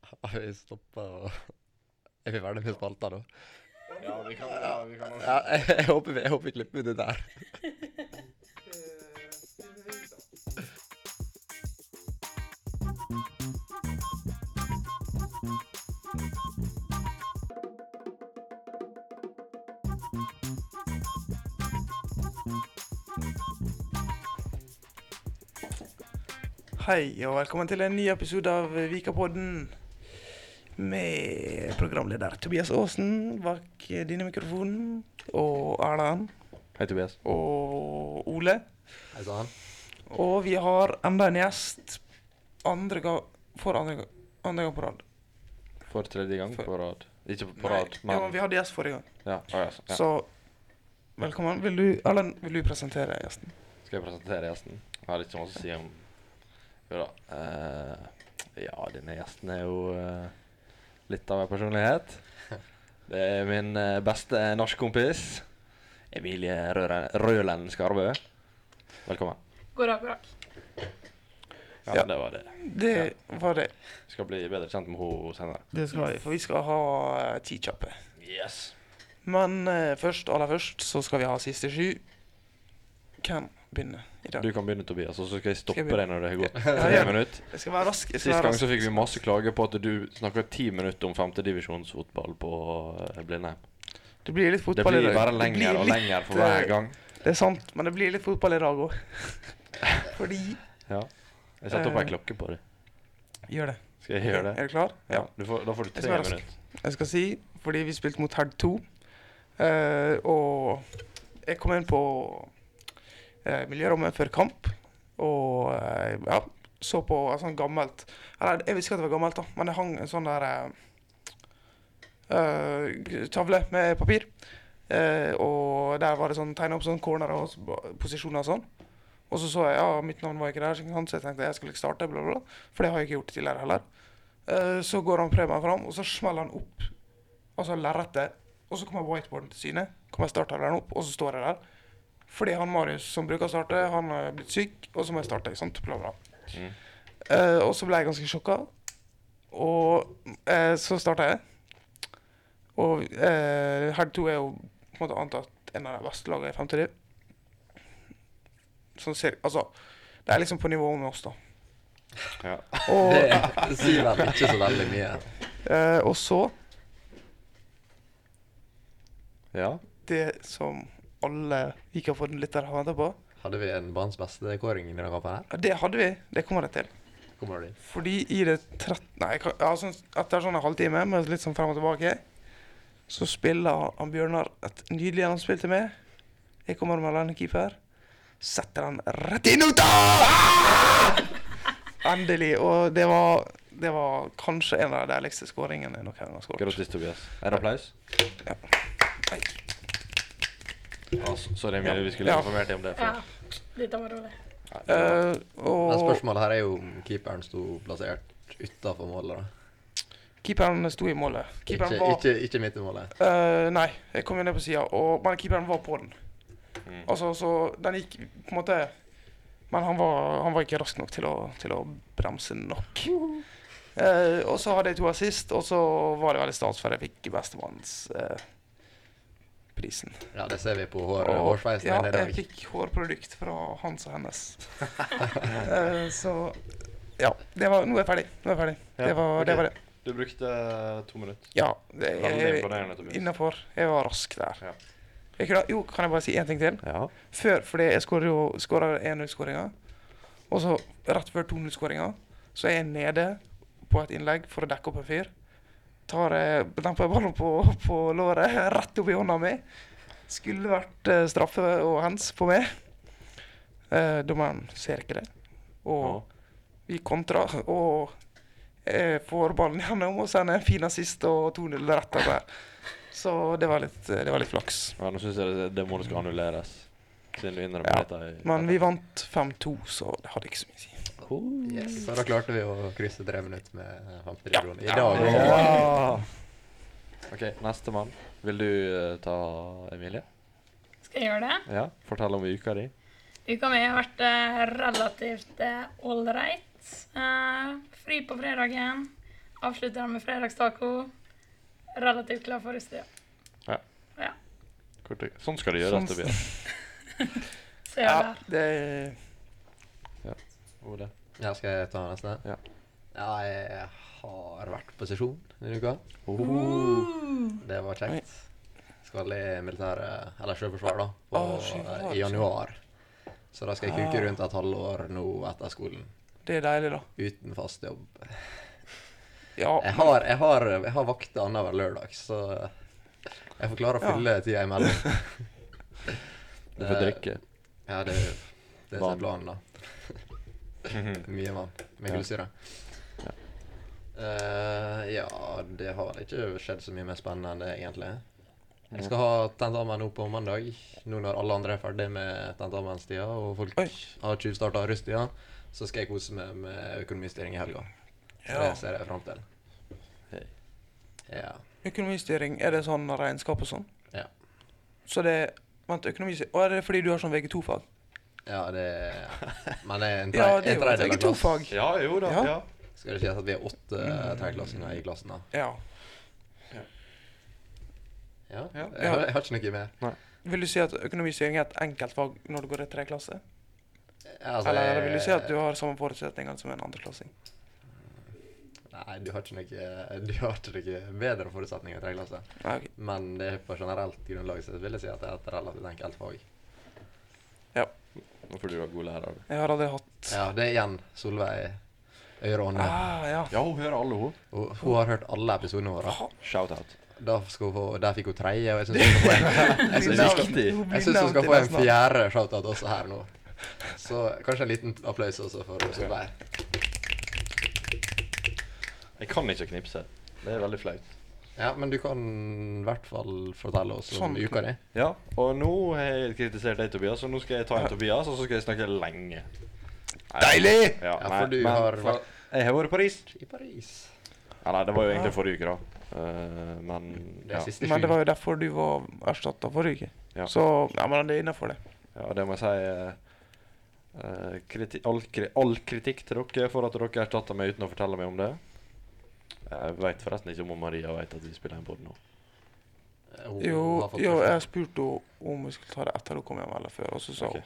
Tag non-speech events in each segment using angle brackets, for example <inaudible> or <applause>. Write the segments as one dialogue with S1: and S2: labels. S1: <laughs> Har vi stoppa og Er vi ferdig med spalta nå?
S2: Ja, vi kan, ja, vi kan også.
S1: Ja, jeg, jeg håper vi, jeg håper vi klipper ut det der.
S3: Hei, og velkommen til en ny episode av Vikapodden. Med programleder Tobias Aasen bak denne mikrofonen. Og Erlend.
S1: Hei, Tobias.
S3: Og Ole.
S1: Hei sann.
S3: Og vi har enda en gjest. Andre ga for andre, ga andre gang på rad.
S2: For tredje gang
S3: For-
S2: på rad. Ikke på
S3: Nei,
S2: rad,
S3: ja, men
S2: men
S3: vi hadde gjest forrige gang.
S2: ja, å, ja, så- ja.
S3: Så velkommen. Vil du, Erlend, vil du presentere gjesten?
S2: Skal jeg presentere gjesten? Jeg har ikke masse å si om Jo da. eh, ja, denne gjesten er jo eh, litt av en personlighet. Det er min eh, beste norskkompis. Emilie Røren- Røland Skarbø. Velkommen.
S4: Goddag, goddag.
S2: Ja,
S3: Ja.
S2: det var det.
S3: Det var det.
S2: Skal bli bedre kjent med henne senere.
S3: Det skal vi, for vi skal ha eh, ti kjappe.
S2: Yes.
S3: Men eh, først, aller først, så skal vi ha siste sju. Hvem begynner i dag?
S2: Du kan begynne, Tobias, og så skal jeg stoppe
S3: Skal jeg
S2: deg når det har gått
S3: Ja,
S2: tre
S3: ja.
S2: minutter.
S3: Jeg skal være rask. Jeg skal
S2: Sist
S3: være
S2: gang
S3: rask.
S2: så fikk vi masse klager på at du snakka ti minutter om femtedivisjonsfotball på eh, Blindheim.
S3: Det blir litt
S2: Det
S3: fotball i
S2: blir
S3: dag.
S2: bare
S3: Det blir
S2: lenger og
S3: litt-
S2: lenger for
S3: eh,
S2: hver gang.
S3: Det er sant, men det blir litt fotball i dag òg. <laughs> Fordi
S2: <laughs> Ja. Jeg satte opp
S3: Eh,
S2: ei klokke på det.
S3: Gjør det.
S2: Skal jeg gjøre det?
S3: Er du klar?
S2: Ja. Du får, da får du
S3: Jeg
S2: tre
S3: skal være rask.
S2: minutter.
S3: Jeg skal si fordi vi spilte mot Herd 2, eh, og jeg kom inn på eh, miljørommet før kamp, og eh, ja, så på et sånt gammelt Eller jeg visste ikke at det var gammelt, da, men det hang en sånn der eh, eh, tavle med papir. Eh, og der var det sånn tegna opp sånn corner og s- posisjoner og sånn. Og så så jeg ja, mitt navn var ikke der, så jeg tenkte jeg skulle ikke starte, bla, bla, bla. For det har jeg ikke gjort tidligere heller. Eh, Så går han prøver fram, og så smeller han opp. Altså lerretet. Og så kommer whiteboarden til syne. Kommer starttaleren opp, og så står jeg der. Fordi han Marius som bruker å starte, han er blitt syk, og så må jeg starte. ikke sant? Bla, bla.
S2: Mm.
S3: Eh, og så ble jeg ganske sjokka. Og eh, så starta jeg. Og uh, Herd 2 er jo på en måte antatt en av de beste lagene i fremtiden. Sånn ser, altså, det er liksom på nivå med oss, da.
S2: Ja.
S3: Og,
S1: <laughs> Det sier vel ikke så veldig mye.
S3: eh, og så
S2: ja.
S3: det som alle Vikaforden-lyttere har venta på.
S1: Hadde vi en banens beste kåring i denne kampen her?
S3: Ja, Det hadde vi. Det kommer jeg til.
S1: Kommer du dit?
S3: Fordi i det 13... Nei, jeg kan- ja, sånn, etter sånn en halvtime med litt sånn frem og tilbake, så spiller han Bjørnar et nydelig gjennomspill til meg. Jeg kommer med alenekeeper. Setter han rett i nota! Ah! Endelig. Og det var, det var kanskje en av de deiligste skåringene jeg noen gang har skåret.
S2: Grattis, Tobias. Er det applaus?
S3: Ja. Nei.
S2: Ah, s- sorry, Emilie, vi skulle
S3: Ja.
S2: informert deg om det
S4: Ja,
S2: før.
S4: dette var rolig.
S3: Eh,
S1: Men
S3: og
S1: spørsmålet her er jo om keeperen sto plassert utafor målet, da.
S3: keeperen sto i målet.
S1: Ikke,
S3: Keeperen var
S1: ikke, ikke midt i målet.
S3: Eh, nei, jeg kom jo ned på sida, men keeperen var på den.
S2: Mm.
S3: Altså, så den gikk på en måte Men han var, han var ikke rask nok til å, til å bremse nok. Eh, og så hadde jeg to assist, og så var det veldig stas, for jeg fikk bestemannsprisen. prisen
S1: Ja, det ser vi på hår,
S3: Og-
S1: hårsveisen
S3: ja,
S1: din i dag.
S3: jeg fikk hårprodukt fra hans
S2: <laughs>
S3: og hennes. Eh, så Ja. Det var, nå er jeg ferdig. Nå er jeg ferdig.
S2: Ja,
S3: det, var, det
S2: ok.
S3: var det.
S2: Du brukte eh, to minutter.
S3: Ja. eh, Det,
S2: Veldig
S3: jeg,
S2: imponerende, Tobias.
S3: Innafor. Jeg var rask der.
S2: Ja.
S3: Jeg kunne, jo, kan jeg bare si én ting til?
S2: Ja.
S3: Før, fordi jeg skårer jo skårer 1-0-skåringa, og så rett før 2-0-skåringa, så er jeg nede på et innlegg for å dekke opp en fyr. Tar eh, demper ballen på, på låret, rett opp i hånda mi. Skulle vært eh, straffe og hands på meg. Eh, Dommeren ser ikke det. Og
S2: Ja.
S3: vi kontrer, og jeg får ballen gjennom, og så er det en fin assist og 2-0 rett der. Så det var litt, det var litt flaks.
S2: Ja, nå syns jeg det, det målet skal annulleres. Siden du innrømmer
S3: Ja,
S2: dette. i-
S3: Men vi vant 5-2, så det hadde ikke så mye å si.
S1: Yes, så da klarte vi å krysse tre minutter med 50
S3: Ja.
S1: kroner. I dag
S2: Ja.
S1: også.
S2: OK, nestemann. Vil du eh, ta Emilie?
S4: Skal jeg gjøre det?
S2: Ja, fortell om uka di.
S4: Uka mi har vært eh, relativt ålreit. Uh, fri på Eh, fredagen. avslutter den med fredagstaco. Relativt klar for russetida.
S2: Kort og- Sånn skal det gjøres,
S3: Sånn-
S2: Tobias.
S4: Så jeg er
S3: Ja,
S4: der.
S3: det
S2: Ole.
S1: Ja, skal jeg ta neste?
S2: Ja.
S1: ja, jeg har vært på sesjon denne uka.
S2: Oh.
S1: Det var kjekt. Skal i militæret, eller Sjøforsvaret, da, på,
S3: Å, Sjøforsvaret,
S1: i januar. Så da skal jeg kuke rundt et halvår nå etter skolen.
S3: Det er deilig, da.
S1: Uten fast jobb.
S3: Ja,
S1: Jeg har, jeg har, jeg har vakter annenhver lørdag, så jeg får klare å
S3: Ja.
S1: fylle tida imellom.
S2: Du får drikke.
S1: Ja, det, det er
S2: Vann.
S1: planen, da.
S3: Mhm.
S1: <laughs> Mye vann med
S2: Ja.
S1: gullsyre.
S2: Ja.
S1: Eh, ja, det har vel ikke skjedd så mye mer spennende enn det, egentlig. Jeg skal ha tentamen nå på mandag, nå når alle andre er ferdig med tentamenstida og folk
S3: Oi.
S1: har tjuvstarta rusttida. Så skal jeg kose meg med økonomistyring i helga. Så
S3: ja.
S1: Det ser jeg fram til.
S2: Hei.
S1: Ja.
S3: Økonomistyring, er det sånn regnskap og sånn?
S1: Ja.
S3: Så det Vent, økonomistyring Å, er det fordi du har sånn VG2-fag?
S1: ja, det Men det er en, tre,
S3: Ja, det er
S1: en
S3: jo et
S1: tredjedel av klassen.
S3: VG2-fag.
S2: Ja, jo da.
S3: Ja.
S2: Ja.
S1: Skal det sies at vi er åtte
S3: Mm.
S1: tredjeklassinger i klassen, da?
S3: Ja.
S1: Ja.
S2: Ja.
S1: Jeg, har, jeg har ikke noe mer.
S3: Vil du si at økonomistyring er et enkeltfag når du går i tredje klasse?
S1: Altså,
S3: Eller vil du si at
S1: jeg-
S3: du har samme forutsetninger som en andreklassing?
S1: eh, Nei, du har ikke noe, du har ikke noe bedre forutsetninger i tredje klasse.
S3: Nei, ok.
S1: Men det er på generelt grunnlag så vil jeg si at det er et relativt enkelt fag.
S2: Nå får du ha god lærer. du.
S3: Jeg har aldri hatt
S1: Ja, det er igjen Solveig Øyreånde.
S3: Ah, ja.
S2: Ja, hun hører alle, hun.
S1: Hun, hun har hørt alle episodene våre.
S2: Shout-out.
S1: Da skal hun få, der fikk hun tredje, og jeg
S3: <laughs>
S1: syns hun skal få en, jeg
S2: Det
S1: synes
S2: er
S1: hun skal,
S2: viktig.
S1: jeg synes hun skal få en fjerde shoutout også her nå. Så kanskje en liten applaus også for Solveig.
S2: Jeg kan ikke knipse. Det er veldig flaut.
S1: Ja, men du kan i hvert fall fortelle oss om
S3: Sånn.
S1: uka di.
S2: Ja, og nå har jeg kritisert deg, Tobias, og nå skal jeg ta en Tobias, og så skal jeg snakke lenge. Nei,
S3: Deilig!
S1: Ja,
S2: Ja, nei,
S1: for du
S2: men
S1: har
S2: for- Jeg har vært i Paris.
S1: I Paris.
S2: Ja, nei, det var jo egentlig
S3: Ja.
S2: forrige uke, da. Eh, men
S1: Det
S2: ja.
S1: er siste
S3: Men det
S1: sju.
S3: var jo derfor du var erstatta forrige uke.
S2: Ja.
S3: Så ja, men det er innafor, det.
S2: ja, det må jeg si eh, eh, kriti all, kri all kritikk til dere for at dere erstatta meg uten å fortelle meg om det. Jeg veit forresten ikke om Maria veit at vi spiller en pod nå.
S1: Eh, Hun
S3: Jo,
S1: har fått
S3: jo
S1: beskjed.
S3: jeg spurte henne om vi skulle ta det etter hun kom hjem, eller før, og så sa
S2: Ok.
S3: hun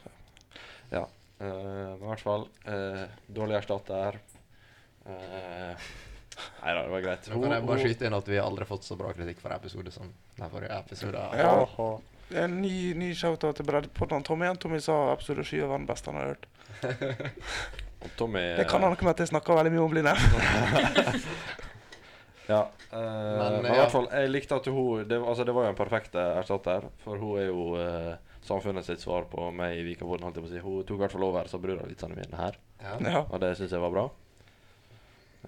S2: Eh, men i hvert fall eh, Dårlig erstatter. Uh, nei da, det var greit.
S1: Nå kan jeg bare skyte inn at vi har aldri fått så bra kritikk for episode som den forrige episoden.
S3: Ja. En ny, ny shout-out til Breddpodden. Tommy igjen. Tommy sa episode 7 var den beste han har hørt.
S2: Og Tommy eh,
S3: Det kan ha noe med at jeg snakker veldig mye
S2: <laughs>
S3: om blinde.
S2: Ja. eh, men i
S1: ja.
S2: hvert fall, jeg likte at hun Det, var- altså, det var jo en perfekt eh, erstatter, for hun er jo eh, samfunnet sitt svar på meg i Vikapodden. holdt jeg på å si. Hun tok i hvert fall over sabbrudavitsene mine her,
S1: Ja.
S3: Ja.
S2: og det syns jeg var bra.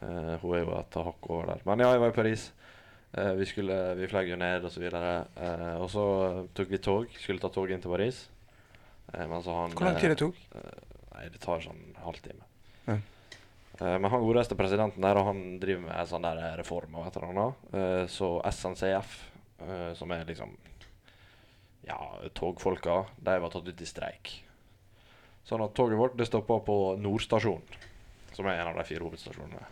S2: Eh, hun er jo et hakk over der. Men ja, jeg var i Paris. Eh, vi skulle, vi fløy jo ned, og så videre. Eh, og så tok vi tog. Skulle ta tog inn til Paris. Eh, men så han
S3: Hvor lang
S2: eh,
S3: tid det tok?
S2: Nei, det tar sånn en halvtime.
S3: Ja.
S2: Eh, men han godeste presidenten der, og han driver med en sånn der eh, reform og et eller annet. Eh, så SNCF, eh, som er liksom ja, togfolka, de var tatt ut i streik. Sånn at toget vårt det stoppa på Nordstasjonen, som er en av de fire hovedstasjonene.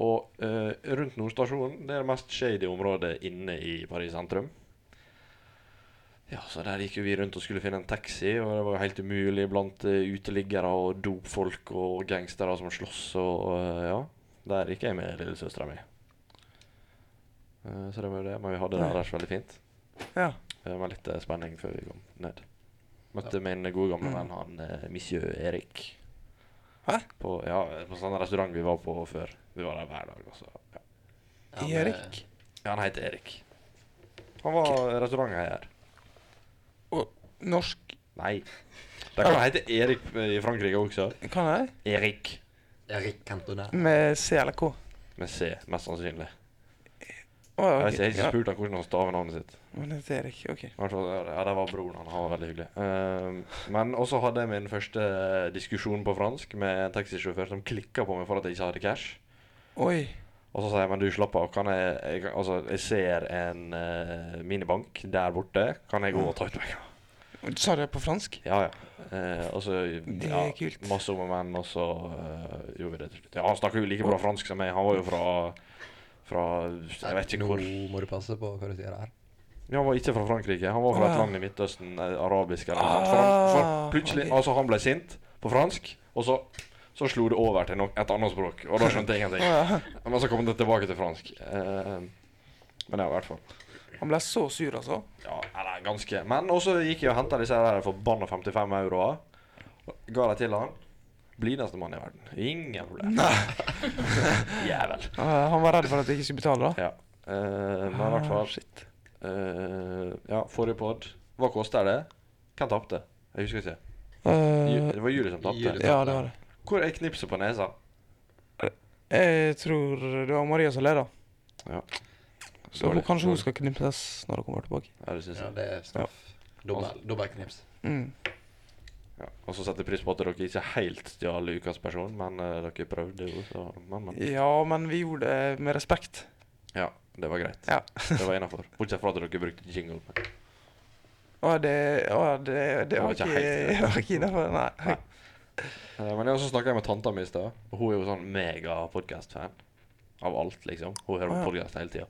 S2: Og eh, rundt Nordstasjonen det er det mest shady området inne i Paris sentrum. Ja, så der gikk jo vi rundt og skulle finne en taxi, og det var jo helt umulig blant eh, uteliggere og dopfolk og gangstere som slåss og eh, ja. Der gikk jeg med lillesøstera mi. Eh, Så det var jo det. Men vi hadde det
S3: Ja.
S2: ellers veldig fint.
S3: Ja.
S2: Eh, Med litt eh, spenning før vi kom ned. Møtte min gode gamle venn han eh, Monsieur Erik.
S3: Hæ?
S2: På, ja, på sånn restaurant vi var på før. Vi var der hver dag. Også. Ja.
S1: Ja, men-
S3: Erik?
S2: ja, han heter Erik. Han var restauranteier.
S3: Norsk?
S2: Nei. Det kan hete Erik eh, i Frankrike også.
S3: Kan jeg?
S2: Erik.
S1: eh, Erik Cantona.
S3: Med C eller K?
S2: Med C, mest sannsynlig.
S3: Å, ja,
S2: Jeg
S3: ok.
S2: vet ikke, jeg har
S3: Ja,
S2: ikke spurt han hvordan han staver navnet sitt.
S3: Men det er Erik. OK.
S2: I hvert fall, Ja, det var broren. Han han var veldig hyggelig. Ehm, men også hadde jeg min første eh, diskusjon på fransk med en taxisjåfør som klikka på meg for at jeg ikke hadde cash.
S3: Oi.
S2: Og så sa jeg men du slapp av, kan jeg, jeg kan- Altså, jeg ser en eh, minibank der borte. Kan jeg gå og ta ut penger?
S3: Sa du det på fransk?
S2: Ja, ja. Eh, og så
S3: Det
S2: ja,
S3: er kult.
S2: masse om og men, og så eh, gjorde vi det til slutt. Ja, han snakker jo like bra fransk som meg. Han var jo fra Fra Jeg vet ikke hvor.
S1: Nå må du passe på hva du sier her.
S2: Ja, Han var ikke fra Frankrike. Han var fra
S3: Å,
S2: et
S3: ja.
S2: land i Midtøsten, eh, arabisk eller noe. sånt. For han, for han plutselig,
S3: Ah, ok.
S2: altså, han ble sint på fransk, og så, så slo det over til noe, et annet språk. Og da skjønte jeg
S3: Å,
S2: ingenting.
S3: ja.
S2: Men så kom det tilbake til fransk. Eh, men ja, i hvert fall.
S3: Han ble så sur, altså.
S2: Ja, eller ganske. Men også gikk jeg og henta disse her forbanna 55 euroa. Og Ga de til han. Blideste mann i verden. Ingen problem. <laughs> Jævel.
S3: Eh, han var redd for at jeg ikke skulle betale, da.
S2: Ja. Eh, men i hvert
S3: Ah,
S2: fall
S3: shit.
S2: eh, Ja, forrige pod. Hva koster det? Hvem tapte? Jeg husker ikke. Ju-
S3: Eh,
S2: Det var Julie som
S1: Julie.
S2: tapte.
S3: ja, det var det.
S2: Hvor er knipset på nesa?
S3: Jeg tror det var Maria som leda.
S2: Ja.
S3: Så hun, kanskje hun skal knipses når hun kommer tilbake.
S2: Ja, Altså- det syns
S1: Ja,
S2: jeg.
S1: det er straff. Dobbel, dobbeltknips.
S3: Mm.
S2: Ja. Og så setter jeg pris på at dere ikke helt stjal ukas person, men eh, dere prøvde jo, så men, men.
S3: Ja, men vi gjorde det med respekt.
S2: Ja, det var greit.
S3: Ja.
S2: det var innafor. Bortsett fra at dere brukte jingle. Men.
S3: Og det, og det, det var ikke, <laughs>
S2: helt-
S3: var ikke innafor, nei.
S2: Nei. Eh, Men jeg også snakka med tanta mi i stad, og hun er jo sånn megapodkast-fan av alt, liksom. Hun hører
S3: Ah,
S2: på
S3: ja.
S2: podkast hele tida.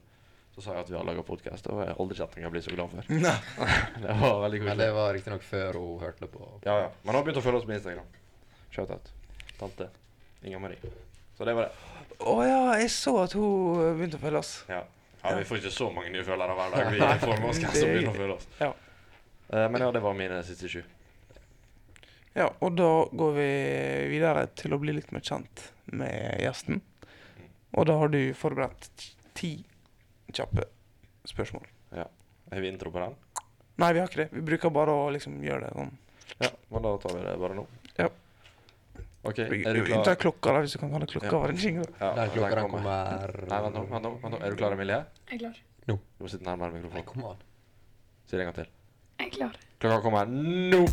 S2: Så sa jeg at vi har laga podkast, og jeg har aldri sett noen bli så glad for.
S3: Nei.
S2: <laughs> Det var veldig
S1: Men det
S2: koselig.
S1: var riktignok før hun hørte på.
S2: Ja, ja. Men hun har begynt å følge oss på Instagram. Shout-out. Tante Inga Marie. Så det var det.
S3: Å ja, jeg så at hun eh, begynte å følge oss.
S2: Ja. ja, vi får ikke så mange nye følgere hver
S3: <laughs>
S2: dag. Vi får med oss hvem som begynner å følge oss.
S3: Ja.
S2: Eh, Men ja, det var mine siste sju.
S3: Ja, og da går vi videre til å bli litt mer kjent med gjesten. Og da har du forberedt ti kjappe spørsmål.
S2: Har vi intro på den?
S3: Nei, vi har ikke det. Vi bruker bare å liksom gjøre det sånn.
S2: Ja, men da tar vi det bare nå.
S3: Ja.
S2: OK, er du
S3: Unnta
S2: klar?
S3: klokka, da, hvis du kan kalle klokka
S2: Ja.
S3: var en jingle.
S2: Ja,
S1: Der klokka
S2: den
S1: den
S2: kommer.
S1: kommer
S2: Nei, vent nå, vent nå, vent nå. Er du klar, Emilie?
S4: Jeg er klar.
S2: Du må sitte nærmere
S1: Nei,
S2: mikrofonen.
S1: kom an.
S2: Si det en gang til.
S4: Jeg er klar.
S2: Klokka kommer nå!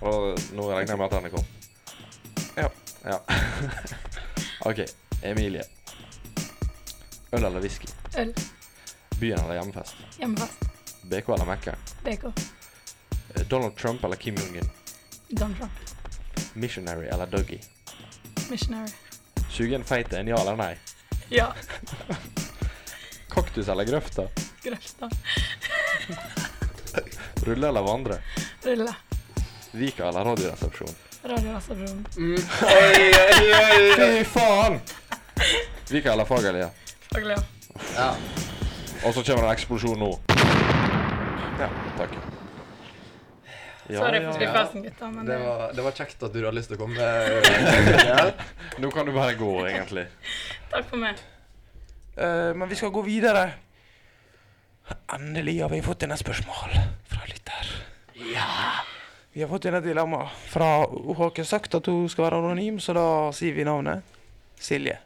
S2: Og nå regner jeg med at den er kom.
S3: Ja.
S2: Ja. <laughs> OK. Emilie. Øl eller whisky?
S4: Øl.
S2: Byen eller hjemmefest?
S4: Hjemmefest.
S2: BK eller Mekka?
S4: BK.
S2: Donald Trump eller Kim Jong-un?
S4: Don Trump.
S2: Missionary eller Dougie?
S4: Missionary.
S2: Suge en feit en, ja eller nei?
S4: Ja.
S2: Kaktus eller grøfta?
S4: Grøfta.
S2: Rulle eller vandre?
S4: Rulle.
S2: Vika eller Radioresepsjon?
S4: Radioresepsjon.
S2: Fy faen! Vika eller Fagerlia?
S4: Faglig, ja.
S1: Ja.
S2: Og så kommer det en eksplosjon nå.
S3: Ja.
S2: Takk.
S4: Sorry for
S1: ja.
S4: skuffelsene, gutter, men
S1: Det
S4: eh,
S1: var, det var kjekt at du hadde lyst til å komme.
S2: Nå kan du bare gå,
S3: <laughs>
S2: egentlig.
S4: takk for meg.
S3: Eh, men vi skal gå videre. Endelig har vi fått inn et spørsmål fra lytter. Vi har fått inn et dilemma. Fra, hun har ikke sagt at hun skal være anonym, så da sier vi navnet. Silje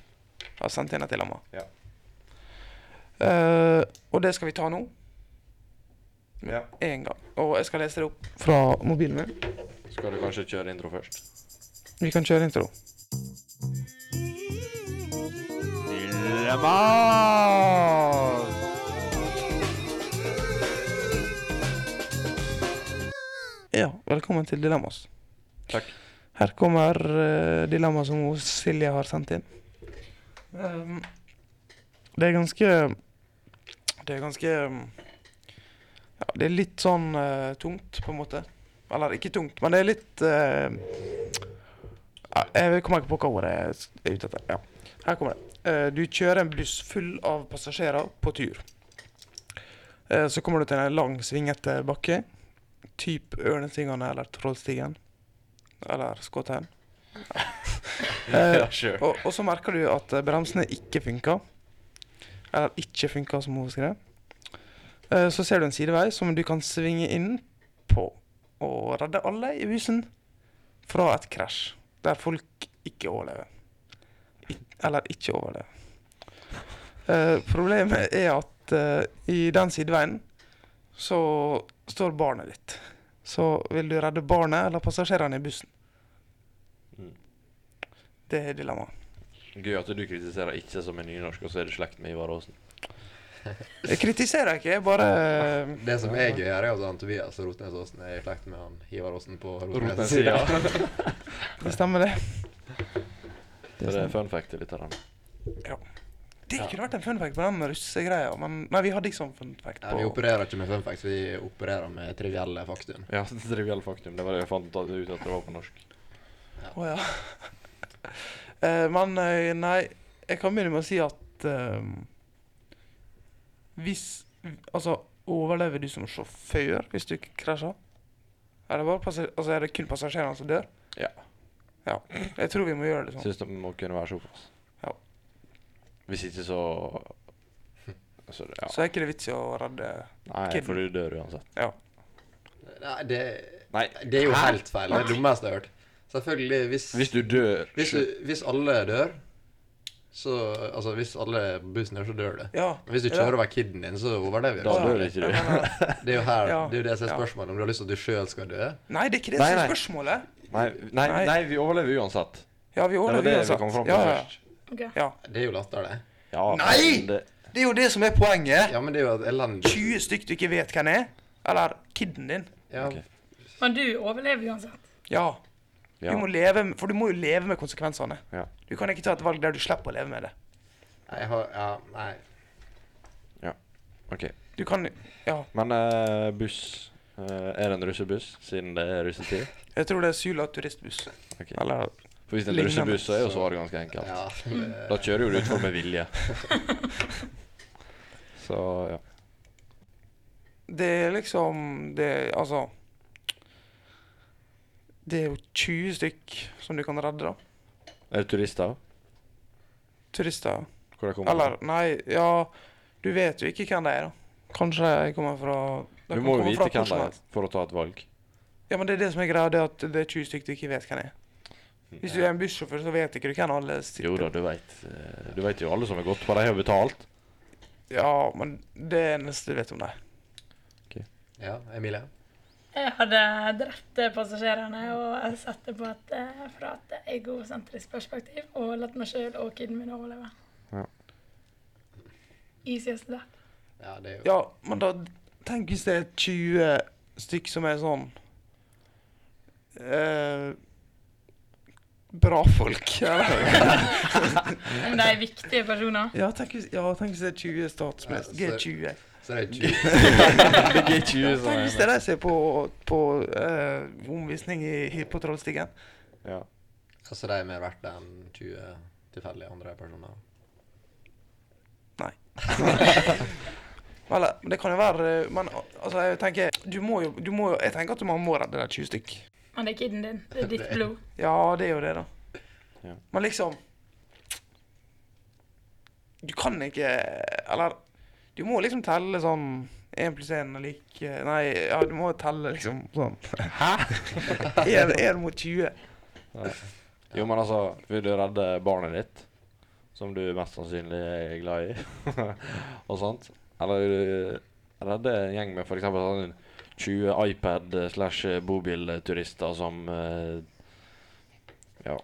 S3: har sendt inn et dilemma.
S2: Ja.
S3: Eh, og det skal vi ta nå,
S2: Ja.
S3: én gang. Og jeg skal lese det opp fra mobilen min.
S2: Skal du kanskje kjøre intro først?
S3: Vi kan kjøre intro. Ja, velkommen til Dilemmas.
S2: Takk.
S3: Her kommer uh, dilemmaet som hun Silje har sendt inn. Um, det er ganske Det er ganske um, ja, Det er litt sånn eh, tungt, på en måte. Eller ikke tungt, men det er litt eh, ja, Jeg kommer ikke på hva ordet jeg s- er ute etter. Ja. Her kommer det. Eh, du kjører en buss full av passasjerer på tur. Eh, så kommer du til en lang, svingete bakke. Typ Ørnestigene eller Trollstigen. Eller Skåtheim. Eh.
S2: <laughs> Ja, sure.
S3: Og, og så merker du at eh, bremsene ikke funker. Eller ikke funker, som hun skrev. Eh, Så ser du en sidevei som du kan svinge inn på og redde alle i bussen fra et krasj der folk ikke overlever. I, eller ikke overlever. Eh, problemet er at eh, i den sideveien så står barnet ditt. Så vil du redde barnet eller passasjerene i bussen?
S2: Mm.
S3: Det er dilemmaet.
S2: Gøy at du kritiserer ikke som en nynorsk, og så er du i slekt med Ivar Aasen.
S3: Jeg kritiserer ikke, jeg bare eh,
S1: Det som er gøy her, er jo at han Tobias Rotnes Aasen er i slekt med han Ivar Aasen på Rotnes.
S2: Sida.
S3: Det stemmer, det.
S2: Så det er fun fact til lytterne.
S3: Det kunne vært en fun fact på den russegreia, men nei, vi hadde ikke sånn fun fact
S1: Ja, vi
S3: på
S1: opererer ikke med fun facts, vi opererer med trivielle faktum.
S2: Ja, <laughs> det er trivielle faktum. Det var det jeg fant ut at det var på norsk.
S3: Å ja. <laughs> Eh, men eh, nei, jeg kan begynne med å si at eh, Hvis Altså, overlever du som sjåfør hvis du krasjer? Er det, bare passasjer, altså, er det kun passasjerene som dør?
S2: Ja.
S3: Ja, Jeg tror vi må gjøre det sånn.
S2: Syns det må kunne være såpass.
S3: Ja.
S2: Hvis ikke så <laughs> Så ja.
S3: Så er ikke det vits i å redde
S2: Nei,
S3: kidden.
S2: for du dør uansett.
S3: Ja.
S1: Nei, det,
S2: Nei,
S1: det er jo helt feil. Det er det dummeste jeg har hørt. Selvfølgelig, hvis,
S2: hvis du dør
S1: hvis, du- hvis alle dør, så Altså, hvis alle på bussen dør, så dør det.
S3: ja.
S1: Men hvis du kjører over kiden din, så overlever du.
S2: Da
S1: ikke.
S2: dør ikke du.
S1: Det er jo her,
S3: Ja.
S1: det er jo det som er
S3: Ja.
S1: spørsmålet, om du har lyst til at du sjøl skal dø.
S3: Nei, det er ikke det
S2: Nei,
S3: som er
S2: nei.
S3: spørsmålet.
S2: Nei, nei,
S3: Nei.
S2: nei, vi overlever uansett.
S3: Ja, vi
S2: Det var
S3: overlever
S2: det vi
S3: uansett.
S2: kom fram til
S3: ja, ja.
S2: først.
S4: Ok.
S3: Ja.
S1: Det er jo latterlig.
S2: Ja,
S3: Nei!
S2: men Det,
S3: Det er jo det som er poenget.
S1: Ja, men det er jo et elendig
S3: 20 stykk du ikke vet hvem er. Eller kiden din.
S1: ja,
S2: Ok.
S4: Men du overlever uansett.
S3: Ja.
S2: ja.
S3: Du må leve med, for du må jo leve med konsekvensene.
S2: Ja.
S3: Du kan ikke ta et valg der du slipper å leve med det.
S1: Jeg har Ja, nei.
S2: OK.
S3: Du kan Ja.
S2: Men eh, buss eh, Er det en russebuss, siden det er russetid?
S3: Jeg tror det er Sula turistbuss.
S2: Ok.
S3: Eller
S2: For hvis det er en
S3: Lignende.
S2: russebuss, så er jo svaret ganske enkelt.
S1: Ja,
S2: Da kjører jo du utfor med
S3: <laughs>
S2: vilje. Så ja.
S3: Det er liksom Det Altså Det er jo 20 stykk som du kan redde, da.
S2: Er det turister?
S3: Turister.
S2: Hvor de kommer
S3: Eller Nei, ja Du vet jo ikke hvem de er, da. Kanskje de kommer fra de
S2: fra? Du
S3: kan
S2: må jo
S3: komme fra
S2: vite hvem
S3: som
S2: det er
S3: helst.
S2: for å ta et valg.
S3: Ja, men det er det som er greia, det er at det er 20 stykk du ikke vet hvem er. Hvis du er en bussjåfør, så vet ikke du hvem alle sitter
S2: Jo da, du veit Du vet jo alle som har gått på, de har betalt.
S3: Ja, men det er det eneste du vet om deg.
S1: ja Emilie?
S4: Jeg hadde drept passasjerene og satt det på et eh, fra et egosentrisk perspektiv og latt meg sjøl og kiden min overleve.
S2: Ja.
S4: Easy as that.
S1: Ja, det er jo
S3: Ja, men da Tenk hvis det er 20 stykk som er sånn eh, Bra folk.
S1: <laughs>
S3: Eller?
S4: Men de er viktige personer.
S3: ja, tenk hvis, ja, tenk hvis det er 20 statsminister.
S1: Ja, så-
S3: G20.
S1: Så
S2: <laughs>
S1: det er 20
S2: Det er 20 som
S3: Tenk hvis det
S2: er
S3: er de som er på, på eh, omvisning i, i- på Trollstigen.
S2: ja.
S1: Altså de er mer verdt enn 20 tilfeldige andre personer.
S3: Eller, men det kan jo være eh, Men al- altså, jeg tenker Du må jo, du må jo Jeg tenker at man må redde de 20 stykk.
S4: Men det er kiden din. Det er ditt
S1: Det-
S4: blod.
S3: Ja, det er jo det, da.
S2: Ja.
S3: Men liksom Du kan ikke Eller du må liksom telle sånn én pluss én er lik eh, Nei, ja, du må telle liksom sånn <laughs> Hæ? Én mot 20.
S2: Jo, men altså, vil du redde barnet ditt, som du mest sannsynlig er glad i, <laughs> og sånt? Eller vil du redde en gjeng med f.eks. sånn 20 iPad slash bobilturister som eh, ja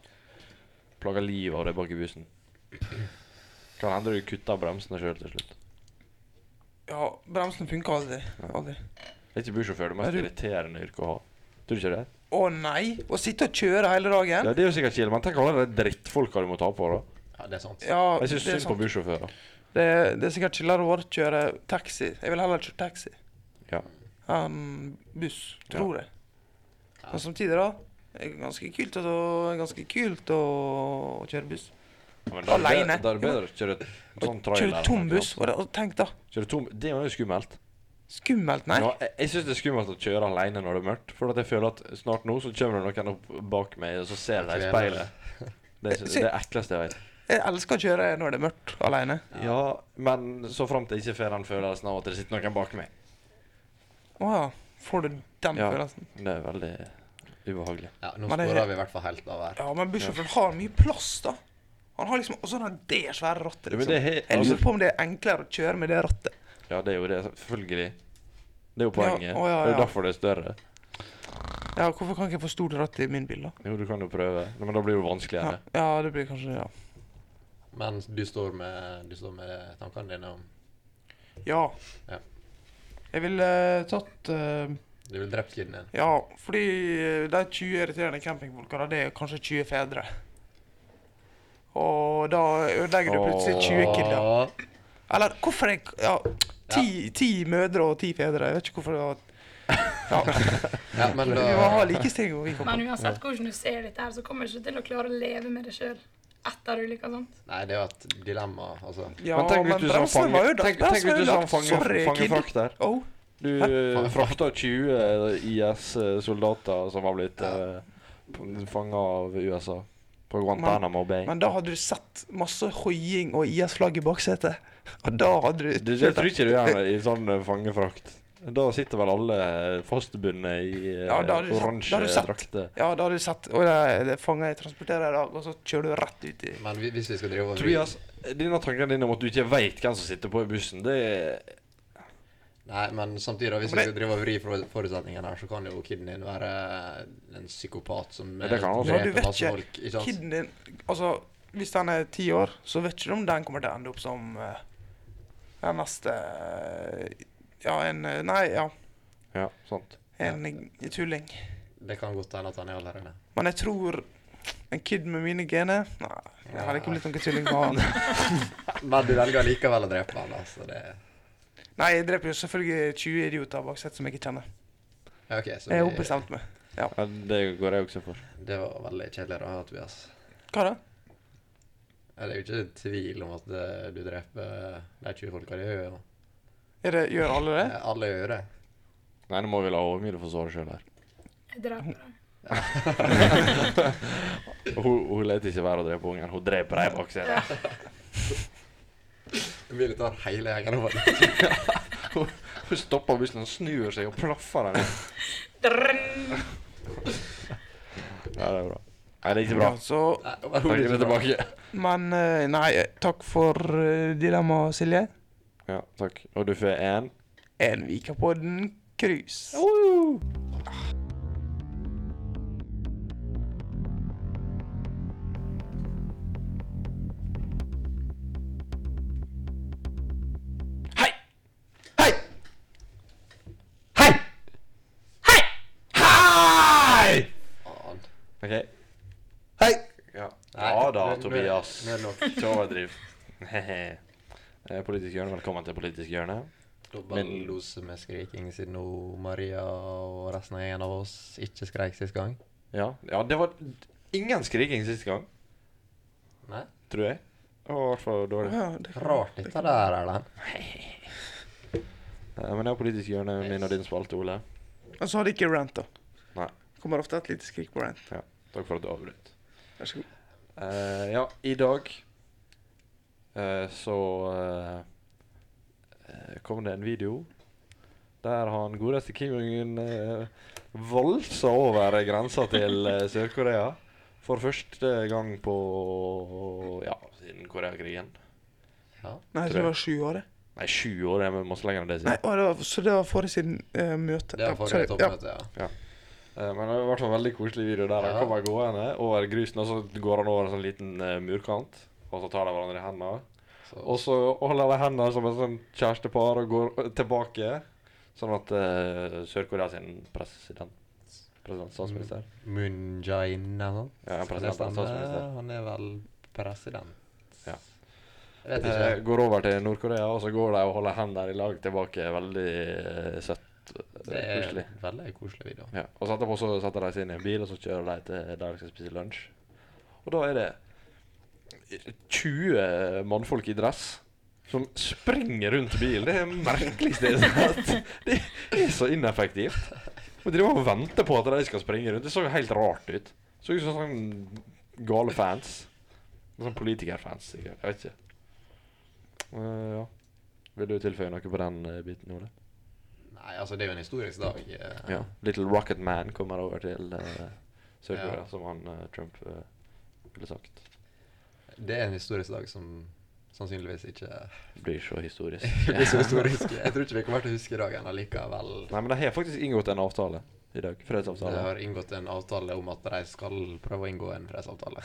S2: plager livet av deg bak i bussen? Kan hende du kutter bremsene sjøl til slutt.
S3: Ja, bremsen funker aldri. aldri.
S2: Er ikke bussjåfør det mest
S3: Er du-
S2: irriterende yrket å ha? Tror du ikke det?
S3: Å nei! Å sitte og kjøre hele
S2: Ja,
S3: dagen?
S2: det er jo sikkert chill, men tenk alle de drittfolka du må ta på, da.
S1: Ja, det er sant.
S3: Ja,
S2: Jeg syns
S3: det, er sånn.
S2: synd på
S3: sant.
S2: bussjåfører.
S3: Det, er- det er sikkert chillere å kjøre taxi. Jeg vil heller kjøre taxi
S2: Ja.
S3: enn buss, tror jeg.
S1: Ja.
S3: Men samtidig, da. Det er ganske kult å, ganske kult å kjøre buss.
S2: Ja, men da er det
S3: Alene.
S2: bedre- Da er det bedre å kjøre sånn trailer.
S3: Kjøre
S2: eller
S3: tom
S2: noe
S3: buss.
S2: sånt.
S3: Og det, og tenk, da.
S2: Kjøre tom, det er jo skummelt.
S3: Skummelt, nei.
S2: Ja, jeg jeg syns det er skummelt å kjøre alene når det er mørkt. For at jeg føler at snart nå så kommer det noen opp bak meg, og så ser de i speilet. Det er det er ekleste jeg vet.
S3: Jeg elsker å kjøre når det er mørkt alene.
S2: Ja, men så framt jeg ikke får den følelsen av at det sitter noen bak meg.
S3: Å ja. Får du den
S2: Ja.
S3: følelsen?
S2: Det er veldig ubehagelig.
S1: Ja, nå
S3: Men det-
S1: sporer vi i hvert fall helt av her.
S3: Ja, men bussjåføren har mye plass, da. Han har liksom Og så har han det svære rattet,
S2: Ja, men
S3: liksom.
S2: det er he-
S3: Jeg lurer
S2: altså-
S3: på om det er enklere å kjøre med det rattet.
S2: Ja, det er jo det. Selvfølgelig. Det er jo poenget.
S3: å, ja,
S2: Det er jo
S3: ja.
S2: derfor det er større.
S3: Ja, hvorfor kan ikke jeg få stort ratt i min bil, da?
S2: Jo, du kan jo prøve. Nei, Men da blir det jo
S3: Ja,
S2: vanskeligere.
S3: ja det blir kanskje det, ja.
S1: Men du står med, du står med tankene dine om
S3: Ja.
S1: Ja.
S3: Jeg ville eh, tatt eh,
S1: Du vil drept kiden din.
S3: Ja, fordi eh, de 20 irriterende campingfolka, da, det er kanskje 20 fedre. Og da ødelegger du plutselig 20 kidder.
S1: Åh.
S3: Eller hvorfor jeg ja, ti, ti mødre og ti fedre. Jeg vet ikke hvorfor det var ja,
S1: Ja, men
S3: Vi må
S1: da
S3: ha likestilling. hvor vi kommer.
S4: Men uansett hvordan du ser dette, her, så kommer du ikke til å klare å leve med det sjøl etter ulykka. sant?
S1: Nei, det er jo et dilemma, altså.
S2: <laughs>
S3: Ja,
S2: Men tenk hvis du som
S3: bremsen
S2: fange-
S3: var ødelagt.
S2: tenk- tenk hvis
S3: Bremsen var
S2: du som
S3: ødelagt.
S2: fange-
S3: Sorry, kid.
S2: fangefrakt der.
S3: Oh,
S2: Du
S1: Hæ?
S2: eh, frakta eh, 20 IS-soldater som var blitt ja. fanga av USA på Guantánamo Bay.
S3: men da hadde du sett masse hoiing og IS-flagg i baksetet. Og da hadde du
S2: det, det tror ikke du
S3: <laughs>
S2: gjør i sånn eh, fangefrakt. Da sitter vel alle fosterbundet i eh,
S3: Ja, da har du sett- da har du
S2: oransje
S3: sett.
S2: drakter.
S3: Ja, da hadde du sett Og det det er fanger jeg transporterer i dag, og så kjører du rett ut i
S1: Men vi- hvis vi skal drive og
S3: altså.
S2: Tobias, denne tanken din om at du ikke veit hvem som sitter på i bussen, det er
S1: Nei, men samtidig, da, hvis
S3: Men
S1: vi
S3: det-
S1: skal drive og vri for- forutsetningene her, så kan jo kiden din være en psykopat som
S2: Ja, det kan han også.
S1: eh,
S3: Ja, du vet
S1: dreper masse
S3: ikke.
S1: folk. Ikke sant?
S3: Kiden din Altså, hvis den er ti år, så vet ikke du om den kommer til å ende opp som eh, den neste eh, Ja, en eh, Nei, ja.
S2: Ja, sant.
S3: En tulling.
S1: Det kan godt hende at han er allerede.
S3: Men jeg tror en kid med mine gener Nei, jeg hadde ikke blitt noen tulling med han.
S1: Men du velger likevel å drepe han, altså. Det...
S3: Nei, jeg dreper jo selvfølgelig 20 idioter bak sett som jeg ikke kjenner.
S1: Ja, OK, så
S3: Jeg har
S1: vi,
S3: ombestemt meg.
S2: Ja, det går jeg også for.
S1: det var veldig kjedelig å ha, Tobias.
S3: Hva da?
S1: Ja, Det er jo ikke tvil om at eh, du dreper de 20 folka. Det gjør jo
S3: Er det, gjør alle det?
S1: Ja, Alle gjør det.
S2: Nei, nå må vi la Åmile få svare sjøl her.
S4: Jeg dreper deg.
S2: Hun, hun lar ikke være å drepe ungen, hun dreper deg bak scenen.
S1: Emilie tar hele gjengen <laughs> over.
S2: Hun stopper bussen, og snur seg og plaffer den.
S4: Drrrn.
S2: Ja, det er bra. Nei, det er ikke bra.
S3: Ja, så,
S1: Nei,
S2: Trekker
S1: overhodet
S2: det
S1: ikke bra.
S2: tilbake.
S3: men eh, nei, takk for eh, dilemmaet, Silje.
S2: Ja, takk. Og du får én.
S3: En Vikapodden cruise.
S2: Hei! Hei! Hei! Hei! Hei!
S1: Faen.
S2: OK.
S3: Hei!
S2: Ja,
S1: Nei,
S2: ja da,
S1: nå- nå-
S2: Tobias.
S1: nå er det
S2: <laughs>
S1: nok.
S2: Ikke overdriv. Hehe. Eh, Politisk hjørne, velkommen til Politisk hjørne.
S1: Dobbel
S2: Men-
S1: dose med skriking siden nå Maria og resten av gjengen av oss ikke skreik sist gang.
S2: Ja, ja det var ingen skriking sist gang,
S1: Nei?
S2: tror jeg. Det var i hvert fall dårlig.
S3: Ja, det kan-
S1: Rart dette der, Erlend.
S2: Eh, Men det er politisk hjørne min og din spalte, Ole.
S3: Og så har de ikke rant, da.
S2: Nei.
S3: Kommer ofte et lite skrik på rant.
S2: Takk for at du avbrøt.
S3: Vær så god.
S2: Eh, ja, i dag eh, så eh, eh, kom det en video der han godeste Kim Jong-un eh, valsa over grensa til eh, Sør-Korea for første gang på Ja, siden Koreakrigen.
S1: Ja.
S2: Tror
S3: Nei, jeg tror
S2: jeg.
S3: det var sju år, det.
S2: Nei, sju år. Jeg må så lenger enn det
S3: Nei,
S2: siden.
S3: å, det var, så det var forrige siden eh, møte.
S1: Det
S3: Ja,
S1: var forrige
S3: sorry.
S1: toppmøte, ja.
S2: Eh, men det var i hvert fall en veldig koselig video der han
S1: Ja.
S2: kommer gående over grusen, og så går han over en sånn liten eh, murkant, og så tar de hverandre i hendene.
S1: Så,
S2: Og så holder de hendene som et sånn kjærestepar og går eh, tilbake. Sånn at eh, Sør-Korea sin president, president statsminister
S1: Moon Jae-in eller noe sånt.
S2: Ja, en
S1: Skal
S2: president,
S1: det
S2: en
S1: stemme?
S2: statsminister.
S1: Han er vel president.
S2: Ja.
S1: Jeg vet
S2: eh,
S1: ikke.
S2: går over til Nord-Korea, og så går de og holder hendene i lag tilbake. Veldig eh, søtt. eh,
S1: Det er
S2: Koselig.
S1: en veldig koselig video.
S2: Ja. Og så etterpå så setter de seg inn i en bil, og så kjører de til der de skal spise lunsj. Og da er det 20 mannfolk i dress som springer rundt bilen. Det er det merkeligste jeg har sett. Det er så ineffektivt. Må drive og vente på at de skal springe rundt. Det så jo helt rart ut. Så ut som sånn gale fans. Sånn politikerfans, sikkert. Jeg vet ikke. Eh, ja. Vil du tilføye noe på den eh, biten, Ole?
S1: Nei, altså, det er jo en historisk dag. eh.
S2: Ja. Little Rocket Man kommer over til uh, Sør-Korea,
S1: Ja.
S2: som han eh, Trump eh, ville sagt.
S1: <laughs> Det er en historisk dag som sannsynligvis
S2: <laughs>
S1: ikke
S2: Blir så
S1: <laughs>
S2: historisk.
S1: blir så historisk. Jeg tror ikke vi kommer til å huske dagen allikevel.
S2: Nei, men de har faktisk inngått en avtale i dag.
S1: De
S2: Fredsavtale.
S1: har inngått en avtale om at de skal prøve å inngå en fredsavtale.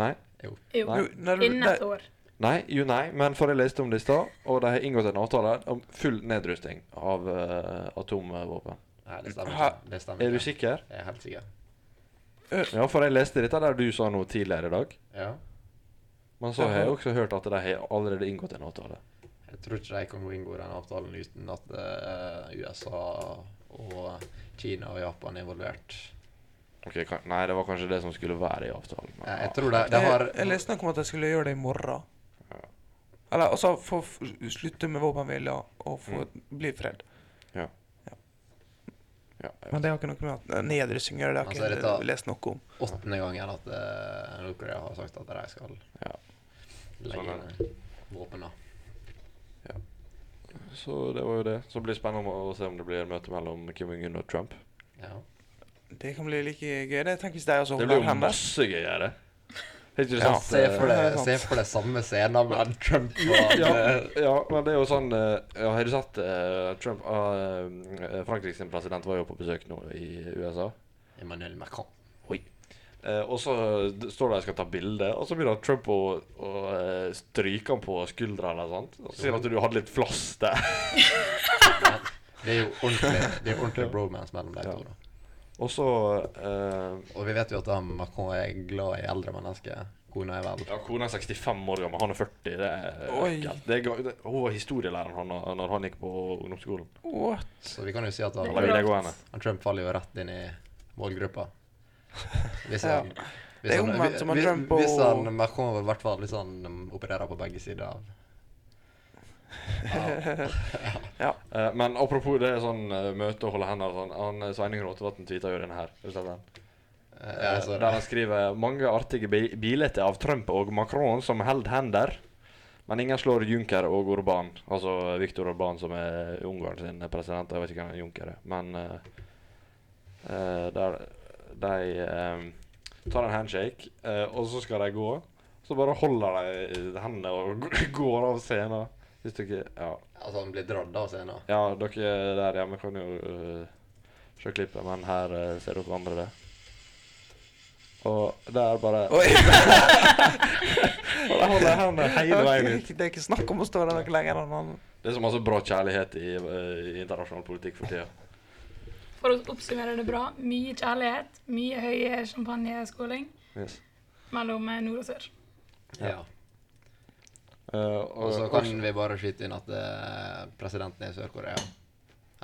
S2: Nei,
S4: Jo.
S2: Nei.
S3: Jo, når du-
S4: Innen
S3: nei,
S4: et år.
S2: nei, jo nei, men for jeg leste om det i stad, og de har inngått en avtale om full nedrusting av eh, atomvåpen.
S1: Nei, det stemmer ikke. Det stemmer
S2: Er du
S1: ikke.
S2: sikker?
S1: Jeg er helt sikker.
S2: Ja, for jeg leste dette der du sa noe tidligere i dag.
S1: Ja.
S2: Men så har jeg også hørt at de har allerede inngått en avtale.
S1: Jeg tror ikke de kan gå inngå den avtalen uten at eh, USA og Kina og Japan er involvert.
S2: Ok, kan, Nei, det var kanskje det som skulle være i avtalen. men-
S1: Jeg, jeg tror de, de har
S3: Jeg, Eh, jeg leste noe om at jeg skulle gjøre det i morgen. Eller altså få f- slutte med våpenhvile og få
S1: Mm.
S3: bli fred.
S2: Ja, ja.
S3: Men det har ikke noe med at nedrustning å gjøre. Det har
S1: Altså,
S3: ikke
S1: dette-
S3: jeg lest noe om.
S1: åttende gangen at eh, Nord-Korea har sagt at de skal
S2: Ja.
S1: legge
S2: Sånn
S1: ned våpnene.
S2: Så det var jo det. Så det blir spennende å se om det blir et møte mellom Kim Jong-un og Trump.
S1: Ja.
S3: Det kan bli like gøy. det. Tenk hvis de også
S2: Det blir
S3: holder
S2: jo
S3: hender.
S2: masse gøyere. Er ikke det
S3: Ja.
S2: sant?
S1: Se for
S3: det er
S1: deg
S3: sant.
S1: se for deg samme scenen med Trump og
S2: ja, ja, men det er jo sånn eh, ja, Har du sett eh, Trump eh, Frankrikes president var jo på besøk nå i USA.
S1: Emmanuel Macron.
S2: Eh, og så d- står de og skal ta bilde, og så begynner Trump å, å eh, stryke han på skuldra eller noe sånt. Og sier at du hadde litt flass der.
S1: Det er jo ordentlig, det er jo ordentlig bromance mellom de
S2: Ja.
S1: to. da.
S2: Og så eh,
S1: Og vi vet jo at han, Macron er glad i eldre mennesker. Kona er vel
S2: Ja, kona er 65 år gammel, han er 40. Det er
S3: Oi.
S2: ekkelt. Det er, ga- det, hun var historielæreren han, da- når han gikk på ungdomsskolen.
S3: What?
S1: Så vi kan jo si at han,
S2: Eller videregående.
S1: han Trump faller jo rett inn i målgruppa. Hvis
S3: Ja.
S1: han,
S3: Det er
S1: hvis, han,
S3: omvendt som han
S1: hvis,
S3: Trump og-
S1: hvis han Macron i hvert fall hvis han um, opererer på begge sider av
S2: Eh, men apropos det er sånn eh, møte og holde hender og sånn. Han, eh, Sveining Rotevatn tweeta jo denne her. Har du sett den?
S1: Eh, ja, jeg så
S2: Der
S1: det.
S2: han skriver mange artige bi bilder av Trump og Macron som held hender. Men ingen slår Juncker og Orban. Altså Viktor Orban, som er Ungarn sin president. Jeg vet ikke hvem Juncker er. Men eh, eh, der de eh, tar en handshake, eh, og så skal de gå. Så bare holder de hendene og <laughs> går av scenen. Hvis dere Ja,
S1: Altså, han blir dradd av scenen.
S2: ja dere der hjemme kan jo eh, se klippet, men her eh, ser dere andre det. Og der bare
S3: Oi.
S2: og de holder hendene hele veien ut.
S3: Det er ikke snakk om å stå der noe lenger enn han.
S2: Det er så masse bra kjærlighet i, eh, i internasjonal politikk for tida.
S4: For å oppsummere det bra, mye kjærlighet, mye høy champagneskåling
S2: Yes.
S4: mellom eh, nord og sør.
S1: Ja.
S2: Eh, og,
S1: Og så kan vi bare skyte inn at eh, presidenten er i Sør-Korea.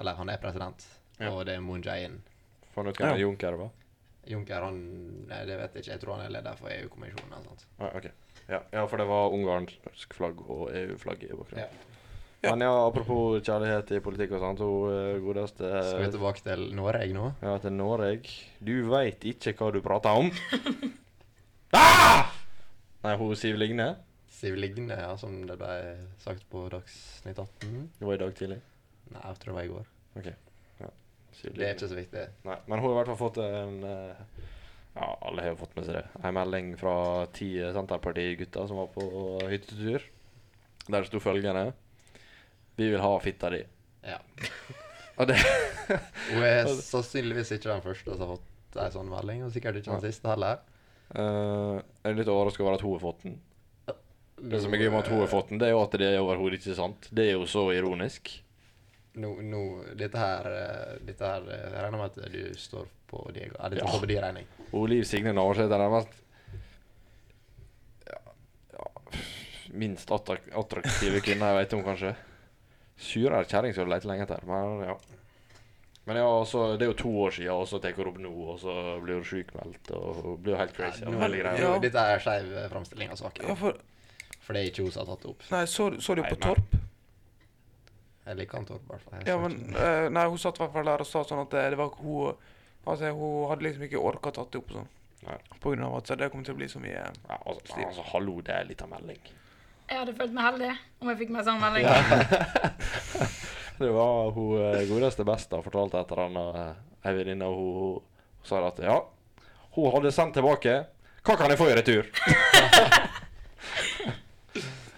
S1: Eller, han er president,
S2: Ja.
S1: og det er Moon Jae-in.
S2: Fant ut hvem
S3: Ja.
S2: Junker var?
S1: Juncker, han Nei, det vet jeg ikke. Jeg tror han er leder for EU-kommisjonen. eller sant?
S2: Ah, ok. ja, ja, for det var ungarsk flagg og EU-flagg i bakgrunnen.
S1: Ja.
S3: Ja.
S2: Men ja, apropos kjærlighet i politikk og sånt, hun eh, godeste eh,
S1: Skal vi tilbake til Norge nå?
S2: Ja, til Noreg. Du veit ikke hva du prater
S1: <laughs>
S2: om. ah! Nei, hun Siv Ligne.
S1: Siv Ligne, ja, som det ble sagt på Dagsnytt 18.
S2: Det var i dag tidlig.
S1: Nei, jeg tror det var i går. Det
S2: Siv
S1: er
S2: Ligne.
S1: ikke så viktig.
S2: Nei, men hun har i hvert fall fått en eh, Ja, alle har jo fått med seg det. En melding fra ti Senterparti-gutter som var på hyttetur. Der sto følgende Vi vil ha fitta di.
S1: Ja.
S2: Og det <laughs>
S1: Hun er sannsynligvis ikke den første som har fått ei sånn melding, og sikkert ikke den siste heller.
S2: Eh, Jeg er litt overraska over at hun har fått den. Det som er gøy med at hun har fått den, det er jo at det er overhodet ikke sant. Det er jo så ironisk.
S1: Nå, nå, dette her, eh, dette her eh, Jeg regner med at du står på Diego. Er dette
S2: Ja.
S1: står på din regning?
S2: Og Liv Signe Navarsete er nærmest ja, ja, minst attak attraktive kvinner jeg vet om, kanskje. Surere kjerring skal du lete lenge etter. Men ja. Men ja, også, Det er jo to år siden, og så tar hun opp nå, og så blir hun sjukmeldt. Og hun blir jo helt crazy.
S1: Nå-
S2: av hele greia.
S1: nå- Dette er skeiv eh, framstilling av
S3: Ja,
S1: saken.
S3: for,
S1: For det er ikke hun som har tatt det opp.
S3: nei, så, så du
S2: Nei,
S3: på
S2: men-
S3: Torp?
S1: Jeg liker han Torp, i hvert fall. Jeg
S3: Ja,
S1: så
S3: men
S1: ikke-
S3: eh, Nei, hun satt i hvert fall der og sa sånn at eh, det var ikke hun Altså, hun hadde liksom ikke orka å tatt det opp og sånn.
S2: Nei.
S3: På grunn av at så det kom til å bli så mye
S2: Ja, altså, altså, hallo, det er litt av melding.
S4: Jeg hadde følt meg heldig om jeg fikk meg sånn melding.
S2: Det var hun eh, godeste besta fortalte et eller annet eh, ei venninne, og hun, hun sa at ja, hun hadde sendt tilbake. Hva kan jeg få i retur?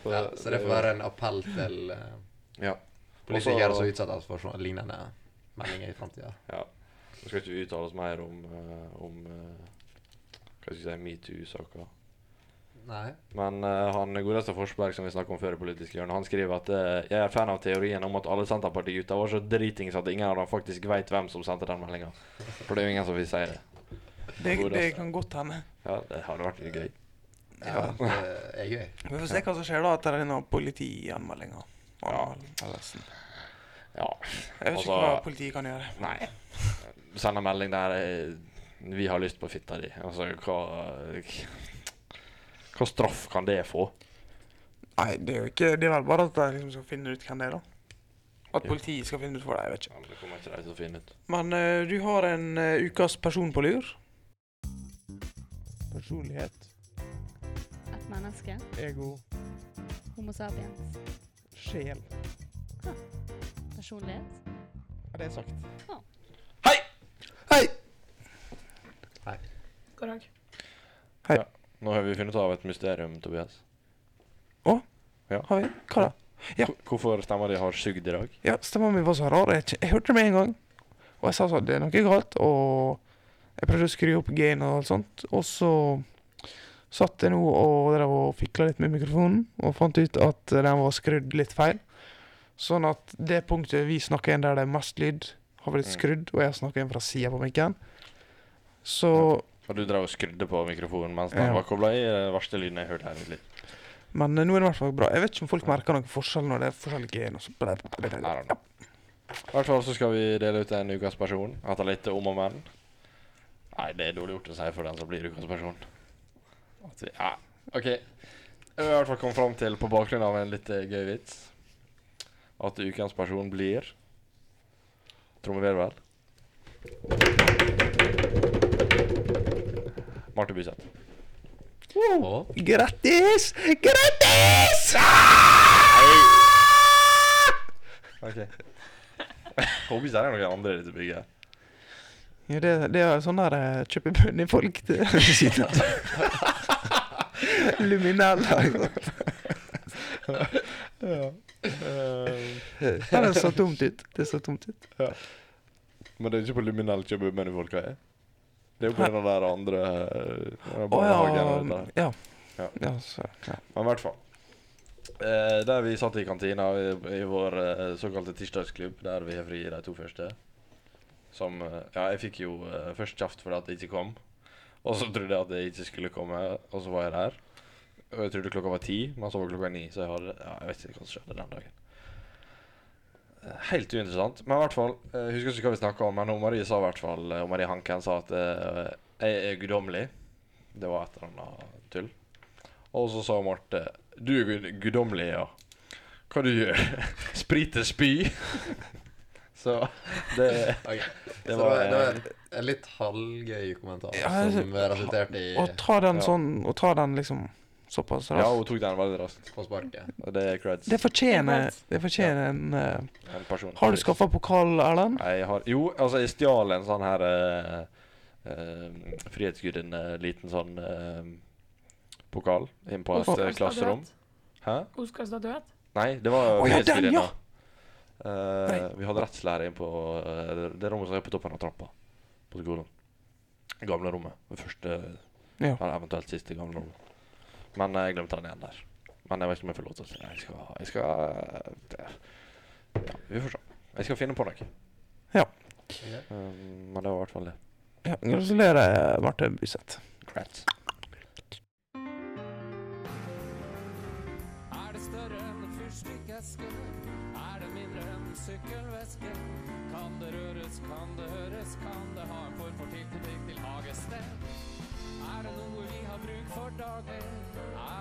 S1: ja, så det får være en appell til eh,
S2: Ja.
S1: politikere
S2: Også-
S1: som utsettes for sånne lignende meldinger i framtida.
S2: ja. Nå skal ikke vi uttale oss mer om, eh, om eh, hva skal jeg si, metoo-saka.
S1: Nei.
S2: Men eh, han godeste Forsberg som vi snakket om før i Politisk hjørne, han skriver at eh, jeg er fan av teorien om at alle Senterparti-gutter var så dritings at ingen av dem faktisk veit hvem som sendte den meldinga. For det er jo ingen som vil si det.
S3: Det, det kan godt hende.
S2: altså? Ja, det hadde vært gøy.
S1: Ja, det er gøy.
S3: Vi får se hva som skjer da etter denne politianmeldinga.
S2: Ja.
S3: Jeg
S2: Ja.
S3: vet ikke
S2: Altså-
S3: hva politiet kan gjøre.
S2: Nei. Send en melding der eh, 'Vi har lyst på fitta di'. Altså, hva Hva straff kan det få?
S3: Nei, det er jo ikke Det er vel bare at de liksom skal finne ut hvem det er, da. At politiet skal finne ut for deg, jeg vet ikke.
S2: Ja, men Det kommer ikke de til å finne ut.
S3: Men eh, du har en eh, ukas person på lur. Personlighet.
S5: Et menneske.
S3: Ego.
S5: Homo sapiens.
S3: Sjel.
S5: Personlighet.
S3: Er det sagt?
S2: Hei!
S3: Hei!
S4: God dag.
S2: Nå har vi funnet av et mysterium, Tobias.
S3: Har vi? Hva da? Ja.
S2: Hvor- Hvorfor stemmer de har sugd i dag?
S3: Ja, stemma mi var så rar. Jeg, kj- jeg hørte det med en gang. Og jeg sa sånn, det er noe galt. Og jeg prøvde å skru opp gain og alt sånt. Og så satt jeg nå og drev og fikla litt med mikrofonen, og fant ut at den var skrudd litt feil. Sånn at det punktet vi snakker inn der det er mest lyd, har blitt
S2: Mm.
S3: skrudd, og jeg snakker inn fra sida på mikken. Så
S2: Og du drev og skrudde på mikrofonen mens den
S3: Ja.
S2: var kobla i. Det er den verste lyden jeg har hørt her i mitt liv.
S3: Men eh, nå er det i hvert fall bra. Jeg vet ikke om folk merker noen forskjell når det er forskjellig gain. Og sånn. så
S2: I don't know. I hvert fall så skal vi dele ut en ukas person etter litt om og men. Nei, det er dårlig gjort å si for den som blir ukas person. At vi, ja, OK. Jeg har i hvert fall kommet fram til, på bakgrunn av en litt eh, gøy vits, at ukens person blir Trommevirvel. Marte Byseth.
S1: Og
S3: Grattis! Grattis!
S2: OK. Håper ikke det er noen andre i dette bygget.
S3: Ja, det, det er sånn der eh, kjøpe bunn i folk <laughs> til siden av. <laughs> Luminella. Eh. Ja, det så tomt ut. Det så tomt ut.
S2: Men det er ikke på Luminell kjøpebønn i folka er. Det er jo på den der andre eh,
S3: Å ja.
S2: barnehagen og dette der.
S3: Ja.
S2: Ja.
S3: ja, så, ja.
S2: Men i hvert fall. Eh, der vi satt i kantina i, i vår eh, såkalte tirsdagsklubb, der vi har fri de to første. Som eh, Ja, jeg fikk jo eh, først kjeft fordi at jeg ikke kom. Og så trodde jeg at jeg ikke skulle komme, og så var jeg der. Og jeg trodde klokka var ti, men så var klokka ni, så jeg hadde Ja, jeg vet ikke hva som skjedde den dagen. Eh, Helt uinteressant. Men i hvert fall, eh, jeg husker ikke hva vi snakka om, men hun Marie sa i hvert fall eh, hun Marie Hanken sa at eh, jeg er guddommelig. Det var et eller annet tull. Og så sa Marte Du er gud guddommelig, ja. Hva du gjør <laughs> Sprite spy? <laughs> så det,
S1: Ok,
S2: det
S1: så
S2: var
S1: det var
S2: eh,
S1: en litt halvgøy kommentar
S3: Ja, jeg-
S1: som resulterte i
S3: Og ta den
S2: Ja.
S3: sånn Og ta den liksom såpass
S2: Ja,
S3: raskt.
S2: hun tok den veldig raskt.
S1: på sparket.
S2: Og det er creds.
S3: Det fortjener, det fortjener en eh,
S2: En person.
S3: Har du skaffa pokal, Erlend?
S2: Nei, Jeg har Jo, altså, jeg stjal en sånn her eh, eh, Frihetsgudin, eh, liten sånn eh, pokal inn på et eh, klasserom. Hæ?
S4: Oscar-statuett?
S2: Nei, det var
S3: Å, ja, den,
S2: frihetsgudinna.
S3: ja!
S2: Eh,
S3: Nei.
S2: vi hadde rettslære inn på eh, det rommet som er på toppen av trappa på skolen. Det gamle rommet. Det første,
S3: Ja.
S2: eller eventuelt siste gamle rommet. Men eh, jeg glemte den igjen der. Men jeg vet ikke om jeg får lov til å si Jeg skal, jeg skal det. Ja, Vi får se. Jeg skal finne på noe.
S3: Ja.
S1: Ok.
S2: Eh, men det var i hvert fall det.
S3: Ja, gratulerer, Marte Byseth.
S2: Crats.
S6: Er det større enn en fyrstikkeske? Er det mindre enn en sykkelveske? Kan det røres, kan det høres, kan det ha en form for tilknytning til hagested? Er det noe vi har bruk for daglig?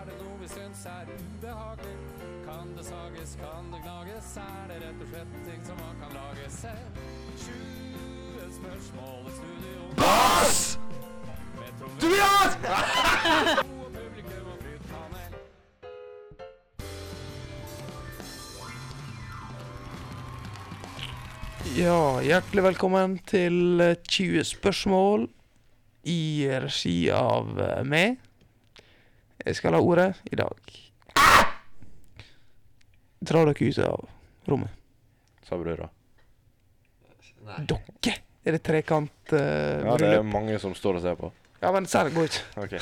S6: Er det noe vi syns er ubehagelig? Kan det sages, kan det gnages? Er det rett og slett en ting som man kan lage selv? 20 spørsmål i studio. Bass! Tobias! publikum og flytpanel.
S3: Ja, hjertelig velkommen til eh, 20 spørsmål i regi av eh, meg. Jeg skal ha ordet i dag. Dra dere ut av rommet.
S2: Sa brura.
S1: Nei.
S3: Dere! Er det trekant eh,
S2: Ja, det
S3: bryllup?
S2: er mange som står og ser på.
S3: Ja, men selv går ikke.
S2: Ok.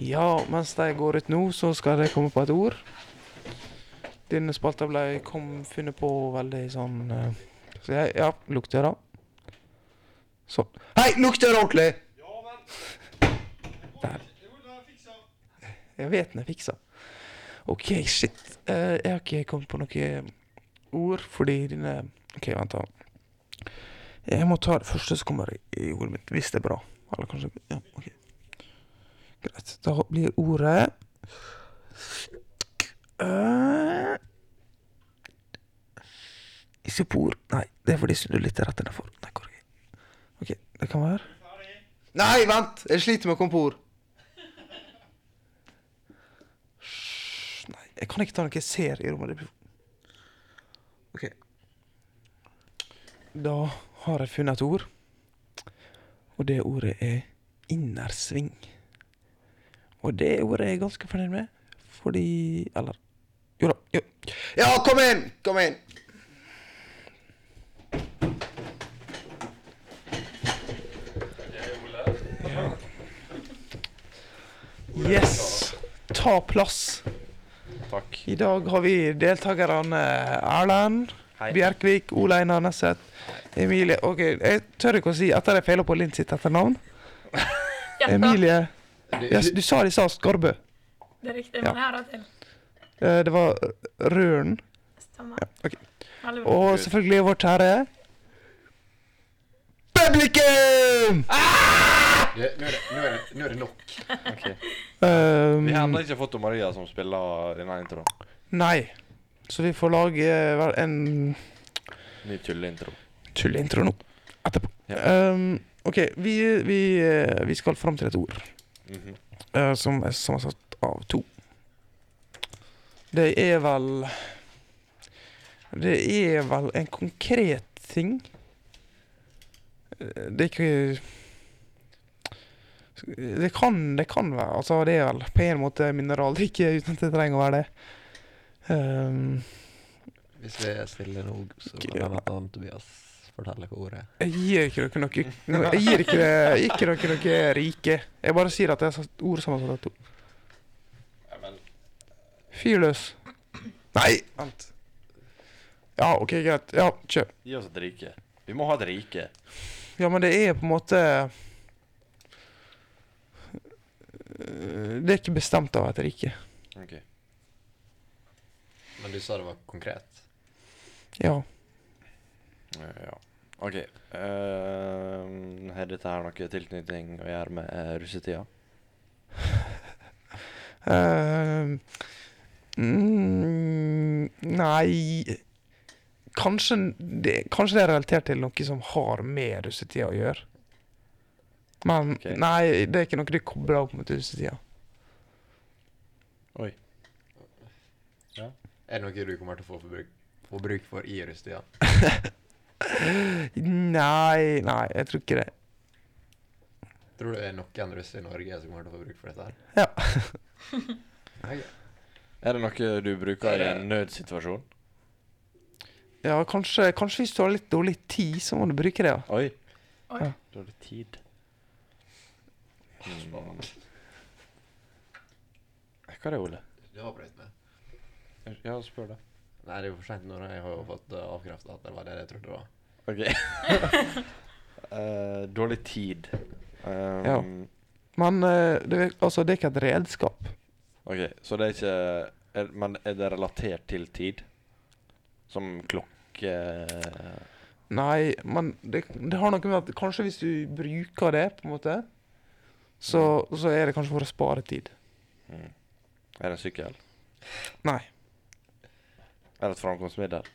S3: Ja, mens de går ut nå, så skal jeg komme på et ord. Denne spalta ble kom funnet på veldig sånn eh, Så jeg, ja, lukter jeg da? Sånn. Hei, lukter det ordentlig? Ja, men Der. Jeg vet den er fiksa. OK, shit. Eh, jeg har ikke kommet på noen ord, fordi dine OK, vent, da. Jeg må ta det første som kommer i i ordet mitt, hvis det er bra. Eller kanskje Ja, OK. Greit. Da blir ordet Eh, Isopor Nei, det er fordi du lytter rett innafor. Nei, hvor er jeg? OK, det kan være Nei, vent! Jeg sliter med å komme på ord. Sj, Nei, jeg kan ikke ta noe jeg ser i rommet. Det blir- OK. Da har jeg funnet et ord, og det ordet er innersving. Og det ordet er jeg ganske fornøyd med, fordi Eller Jo da. Jo. Ja, kom inn! Kom inn! Yes! Ta plass.
S2: Takk. <laughs>
S3: I dag har vi deltakerne Erlend,
S2: Hei.
S3: Bjerkvik, Ole Einar Nesset, Emilie OK, jeg tør ikke å si etter jeg feiler på Linn sitt etternavn.
S4: Hjertet.
S3: Emilie
S1: Du,
S3: yes, Du sa det i stad, Skarbø.
S4: Det er riktig,
S3: Ja.
S4: men det her har til.
S3: Eh, Det var Røren.
S4: Stemmer.
S3: Ja, ok.
S4: Veldig <laughs> bra.
S3: Og selvfølgelig vår kjære Publikum!
S1: du, nå, er det, nå, er det, nå er det nok.
S3: Um,
S2: Vi har ennå ikke fått Maria som spiller denne introen.
S3: nei. Så vi får lage eh, vel en
S2: Ny tulleintro.
S3: tulleintro nå. Etterpå. Um, OK, vi, vi, eh, vi skal fram til et ord
S2: Mhm.
S3: eh, som, er, som er satt av to. Det er vel Det er vel en konkret ting. Eh, Det er ikke Det kan, det kan være Altså, det er vel på en måte mineraldrikke uten at det trenger å være det. Um,
S1: Hvis vi er stille nok, så
S3: Ikke-
S1: kan han Tobias fortelle hva ordet er.
S3: Jeg gir ikke dere noe Jeg gir ikke, dere- ikke dere noe rike. Jeg bare sier at jeg har sagt ord sammensatt av to.
S2: Ja, men
S3: Fyr løs. Nei, vent. Ja, OK, greit. Ja, kjør.
S2: gi oss et rike. Vi må ha et rike.
S3: Ja, men det er på en måte Øh, Det er ikke bestemt av et rike.
S2: Ok.
S1: Men du sa det var konkret.
S3: Ja.
S2: Eh, Ja. OK. eh, har dette her noe tilknytning å gjøre med eh, russetida?
S3: Eh, mm, nei kanskje det, kanskje det er relatert til noe som har med russetida å gjøre. Men
S2: Ok.
S3: nei, det er ikke noe du kobler opp mot russetida.
S2: Oi.
S1: Er det noe du kommer til å få for bruk, få bruk for i russetida?
S3: Nei, nei, jeg tror ikke det.
S1: Tror du det er noen russere i Norge som kommer til å få bruk for dette her?
S3: Ja.
S1: <laughs> Ok.
S2: Er det noe du bruker i en nødsituasjon?
S3: Ja, kanskje, kanskje hvis du har litt dårlig tid, så må du bruke det. ja.
S2: Oi.
S4: Oi.
S3: Ja.
S2: Da er det tid. Mm. Eh, Hva er det, Ole?
S1: Du har prøvd med.
S2: Ja, spør det.
S1: Nei, det er jo for seint nå. da. Jeg har jo fått avkrefta at det var det jeg trodde det var.
S2: OK. <laughs> Eh, dårlig tid. Um,
S3: Ja. Men eh, det, er- altså, det er ikke et redskap.
S2: OK, så det er ikke er, Men er det relatert til tid? Som klokke eh,
S3: Nei, men det, det har noe med at kanskje hvis du bruker det, på en måte, så, så er det kanskje for å spare tid.
S2: mm. Er det en sykkel?
S3: Nei.
S2: Er det et framkomstmiddel?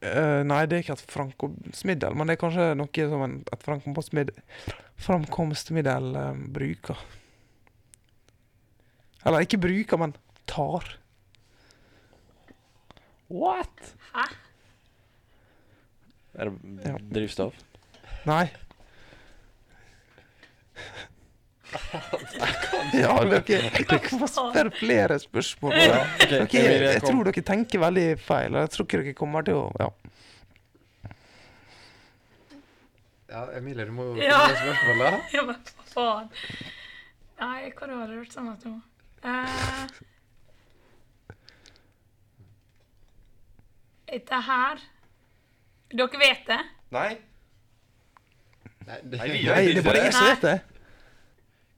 S3: Eh, nei, det er ikke et framkomstmiddel, men det er kanskje noe som en, et framkomstmiddel, framkomstmiddel eh, bruker. Eller ikke bruker, men tar. What?
S2: Er det
S3: Ja.
S2: drivstoff?
S3: <laughs> Nei. ja, dere, dere får spørre flere spørsmål.
S2: Ja, ok,
S3: Dere, jeg,
S2: Emilie, kom.
S3: tror dere tenker veldig feil, og jeg tror ikke dere kommer til å ja.
S1: Ja, Emilie, du må jo
S4: Ja.
S1: finne <laughs> spørsmålet.
S4: Ja, men hva faen? Nei, hva har sånn det vært sammen med nå? Eh, Dette her Dere vet det?
S2: Nei.
S1: Nei, det,
S2: Nei, vi-
S3: Nei, det er bare jeg som vet det.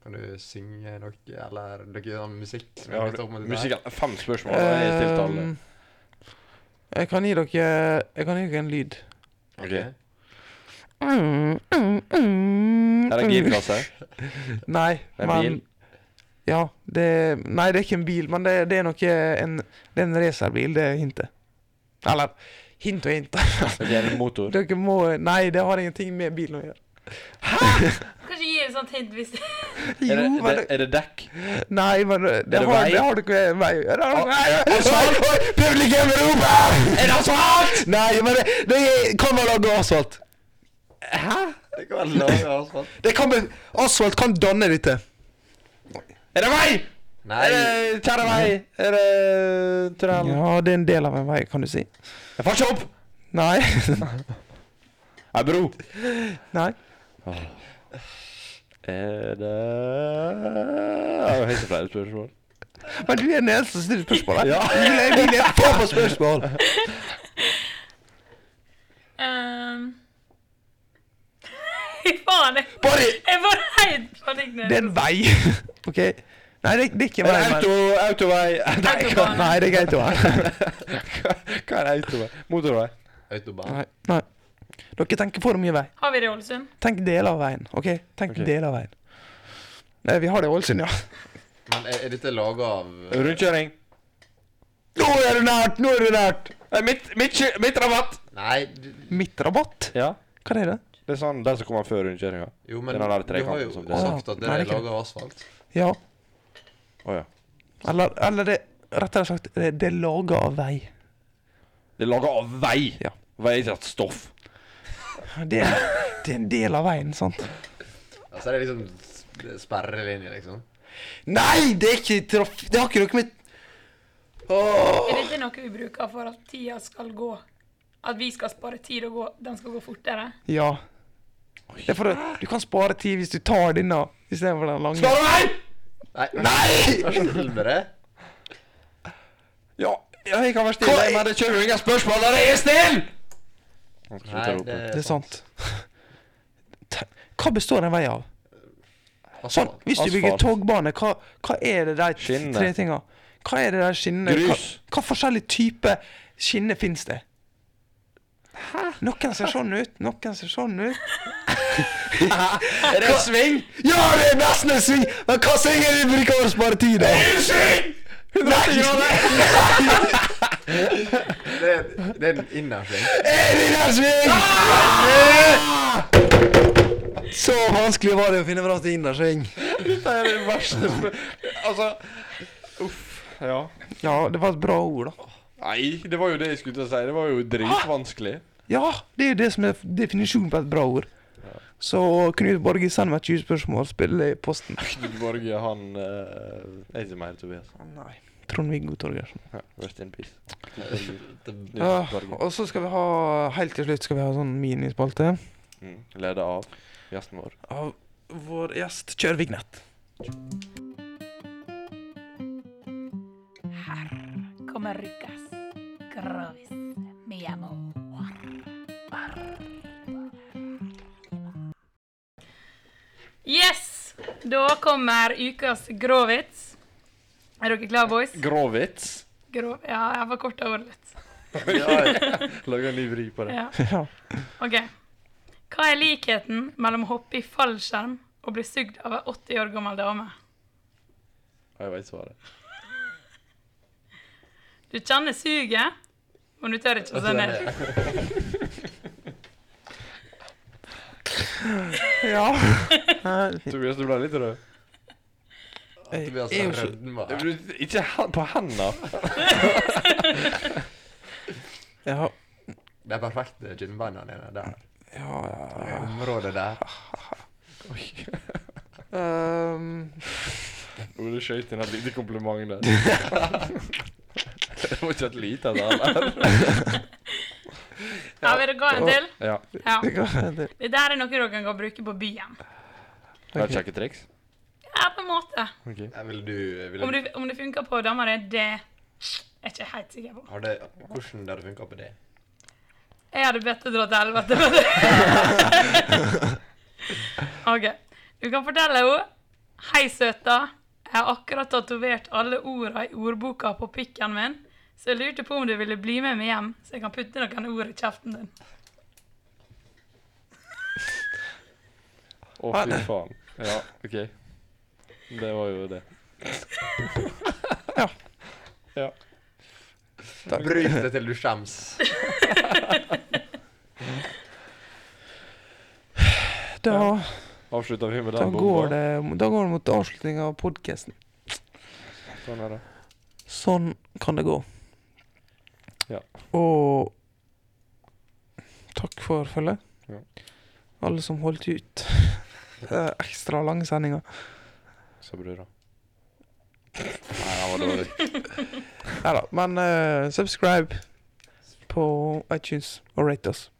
S1: Kan du synge noe, eller dere gjør sånn musikk? som er
S2: Ja,
S1: knyttet opp mot dette her?
S2: Musikk Fem spørsmål i tiltale.
S3: Ehm, jeg kan gi dere Jeg kan gi dere en lyd.
S2: Ok. Er
S3: Er
S2: det girkasse?
S3: <laughs> Nei,
S2: Det er
S3: men
S2: bil.
S3: Ja, det Nei, det er ikke en bil, men det, det er noe en, Det er en racerbil, det er hintet. Eller hint og hint. <laughs>
S2: Ok, er det en motor?
S3: dere må Nei, det har ingenting med bilen å gjøre.
S4: Kanskje gi et sånt hint hvis <laughs>
S2: Er det,
S3: Jo, men
S2: er det, er det dekk?
S3: Nei, men det,
S2: det
S3: har,
S2: vei?
S3: det har dere med meg å gjøre.
S2: Ah, er det
S3: <laughs>
S2: asfalt?
S3: Nei, Publikum roper!
S2: Er det asfalt?!
S3: Nei, men det, det kan være laget av asfalt. Hæ?
S2: Det kan være laget av asfalt.
S3: Det kan bli, asfalt kan danne dette.
S2: Er det vei?!
S1: Nei!
S2: Er det kjære vei? Er det tunnel?
S3: Ja, det er en del av en vei, kan du si.
S2: Jeg får ikke opp!
S3: Nei. <laughs>
S2: Er bro?
S3: Nei.
S2: Er det Det er jo helt flere spørsmål.
S3: Men du er den eneste som stiller spørsmål.
S2: Ja. <laughs>
S3: Vi er få på spørsmål.
S4: Ehm. <laughs> Faen, jeg,
S3: Bare
S4: jeg var helt panikk nå.
S3: Det er en vei. <laughs> OK? Nei, det, det er ikke en
S2: Er
S3: vei.
S2: det
S3: men-
S2: auto, autovei? <laughs> Nei, hva,
S4: Autobahn.
S3: Nei, det er greit å være.
S2: hva er det autovei? Motorvei?
S1: Autobahn.
S3: Nei. Nei. Dere tenker for mye vei.
S4: Har vi det i Ålesund?
S3: Tenk deler av veien. OK? Tenk
S2: Ok.
S3: deler av veien. Nei, vi har det i Ålesund, ja.
S1: Men er, er dette laget av
S2: Rundkjøring?
S3: Nå er det nært! Nå er det nært!
S2: Eh, Midt, midt, midtrabatt!
S1: Nei, du-
S3: Midtrabatt?
S2: Ja,
S3: Hva er det?
S2: det er sånn den som kommer før rundkjøringa.
S1: jo, men
S2: Den
S1: du
S2: har der
S1: har
S2: trekanten
S1: jo
S2: som går.
S1: sagt at det
S3: Nei,
S1: er
S3: det er ikke
S1: laget av asfalt.
S3: Ja.
S2: Å ja.
S3: Eller, eller det Rettere sagt, det, det er laga av vei.
S2: Det er laga av vei!
S3: Ja.
S2: Veisatt stoff.
S3: Det, det er en del av veien, sant?
S1: Altså, det er liksom s- sperrelinje, liksom.
S3: Nei, det er ikke traff... Det har ikke noe med Åh.
S4: Er dette noe vi bruker for at tida skal gå? At vi skal spare tid og gå, den skal gå fortere?
S3: Ja. Det er for å, du kan spare tid hvis du tar denne istedenfor den lange.
S2: Spar vei!
S1: Nei!
S2: Nei!
S1: Vær så snill med det.
S2: Ja, ja, jeg kan være stille,
S3: Hva-
S2: men det kommer jo ingen spørsmål når jeg er stille!
S1: Nei, det sånn.
S3: Det er sant. Te- Hva består en vei av? Sånn,
S1: Asfalt.
S3: Hvis du bygger
S2: Asfalt.
S3: togbane, hva, hva er det der
S2: Skinner.
S3: tre tinga? Hva er det der skinnene Hva,
S2: Grus.
S3: hva forskjellige typer skinner fins det? Hæ? Noen ser sånn ut, noen ser sånn ut.
S2: Er det en sving?
S3: Ja, det er nesten en sving! Men hva svinger vi bruker å spare tid, da?
S2: Sving! 180 grader!
S1: Det er, det er en innersving.
S2: Ah!
S3: Ah! Så vanskelig var det å finne fram til innersving.
S2: Det er det verste sp- Altså Uff. Ja.
S3: Ja, det var et bra ord, da.
S2: Nei, det var jo det jeg skulle til å si. Det var jo dritvanskelig.
S3: Ja, det er jo det som er definisjonen på et bra ord. Så Knut Borge, send meg 20 spørsmål, spill i posten.
S2: Knut Borge, han eh, Jeg sier mer Tobias.
S3: Nei. Trond-Viggo Torgersen.
S2: Ja, Rest in peace.
S1: Det-
S2: Knut
S3: Ah,
S2: Borge.
S3: og så skal vi ha, helt til slutt, skal vi ha sånn minispalte
S2: Mm. Leder av gjesten vår.
S3: av vår gjest Kjør vignett.
S4: Her kommer Rukas Gravis Miamo. Yes! Da kommer ukas gråvits. Er dere klare, boys?
S2: Gråvits. <laughs>
S4: Grå... Ja, jeg var kort over litt.
S2: Lager en ny vri på det.
S4: Ja.
S3: Ja.
S4: OK. Hva er likheten mellom å hoppe i fallskjerm og bli sugd av ei 80 år gammel dame?
S2: Jeg veit svaret.
S4: Du kjenner suget, men du tør ikke å se ned.
S3: ja. Nei, det er fint.
S2: Tobias, du ble litt rød.
S1: At vi har
S3: Jeg er jo
S1: sånn
S3: så-
S1: rødme.
S2: Du- du- Ikke hen- på henda.
S3: Ja,
S1: Det er perfekte ginbineren din der.
S3: ja, ja,
S1: Det
S3: ja.
S1: Området der.
S2: <laughs>
S3: Ehm,
S2: Ole skøyt inn et lite <laughs> kompliment der. det var ikke et lite et heller.
S4: Ja, vil dere gå en til?
S2: Ja.
S4: Ja.
S3: det kan- det-
S4: Dette her er noe dere kan bruke på byen.
S2: Har du sjekket triks?
S4: Ja, på en måte.
S2: Ok.
S1: Nei, Vil du, vil
S4: Om
S1: du
S4: det, om det funker på damer, det, det er jeg ikke helt sikker på.
S1: har det, Hvordan det hadde funka på det?
S4: Jeg hadde bedt å dra til helvete. <laughs> vet du. OK. Du kan fortelle henne Hei, søta. Jeg har akkurat tatovert alle orda i ordboka på pikken min, så jeg lurte på om du ville bli med meg hjem, så jeg kan putte noen ord i kjeften din.
S2: Å,
S3: Ah.
S2: fy faen. Ja, OK. Det var jo det.
S3: Ja.
S2: Ja.
S3: Takk.
S1: Bryt det til du skjems.
S3: Da,
S2: Avslutter vi med
S3: da,
S2: den
S3: går,
S2: bomba?
S3: det, da går det mot avslutning av podkasten.
S2: Sånn er det.
S3: Sånn kan det gå.
S2: Ja.
S3: Og takk for følget.
S2: Ja.
S3: Alle som holdt
S2: <laughs>
S3: ut. Det er Ekstra lange sendinger.
S2: Så bra. da. Nei, den var dårlig.
S3: Nei da. Men eh, subscribe på iTunes og rate oss.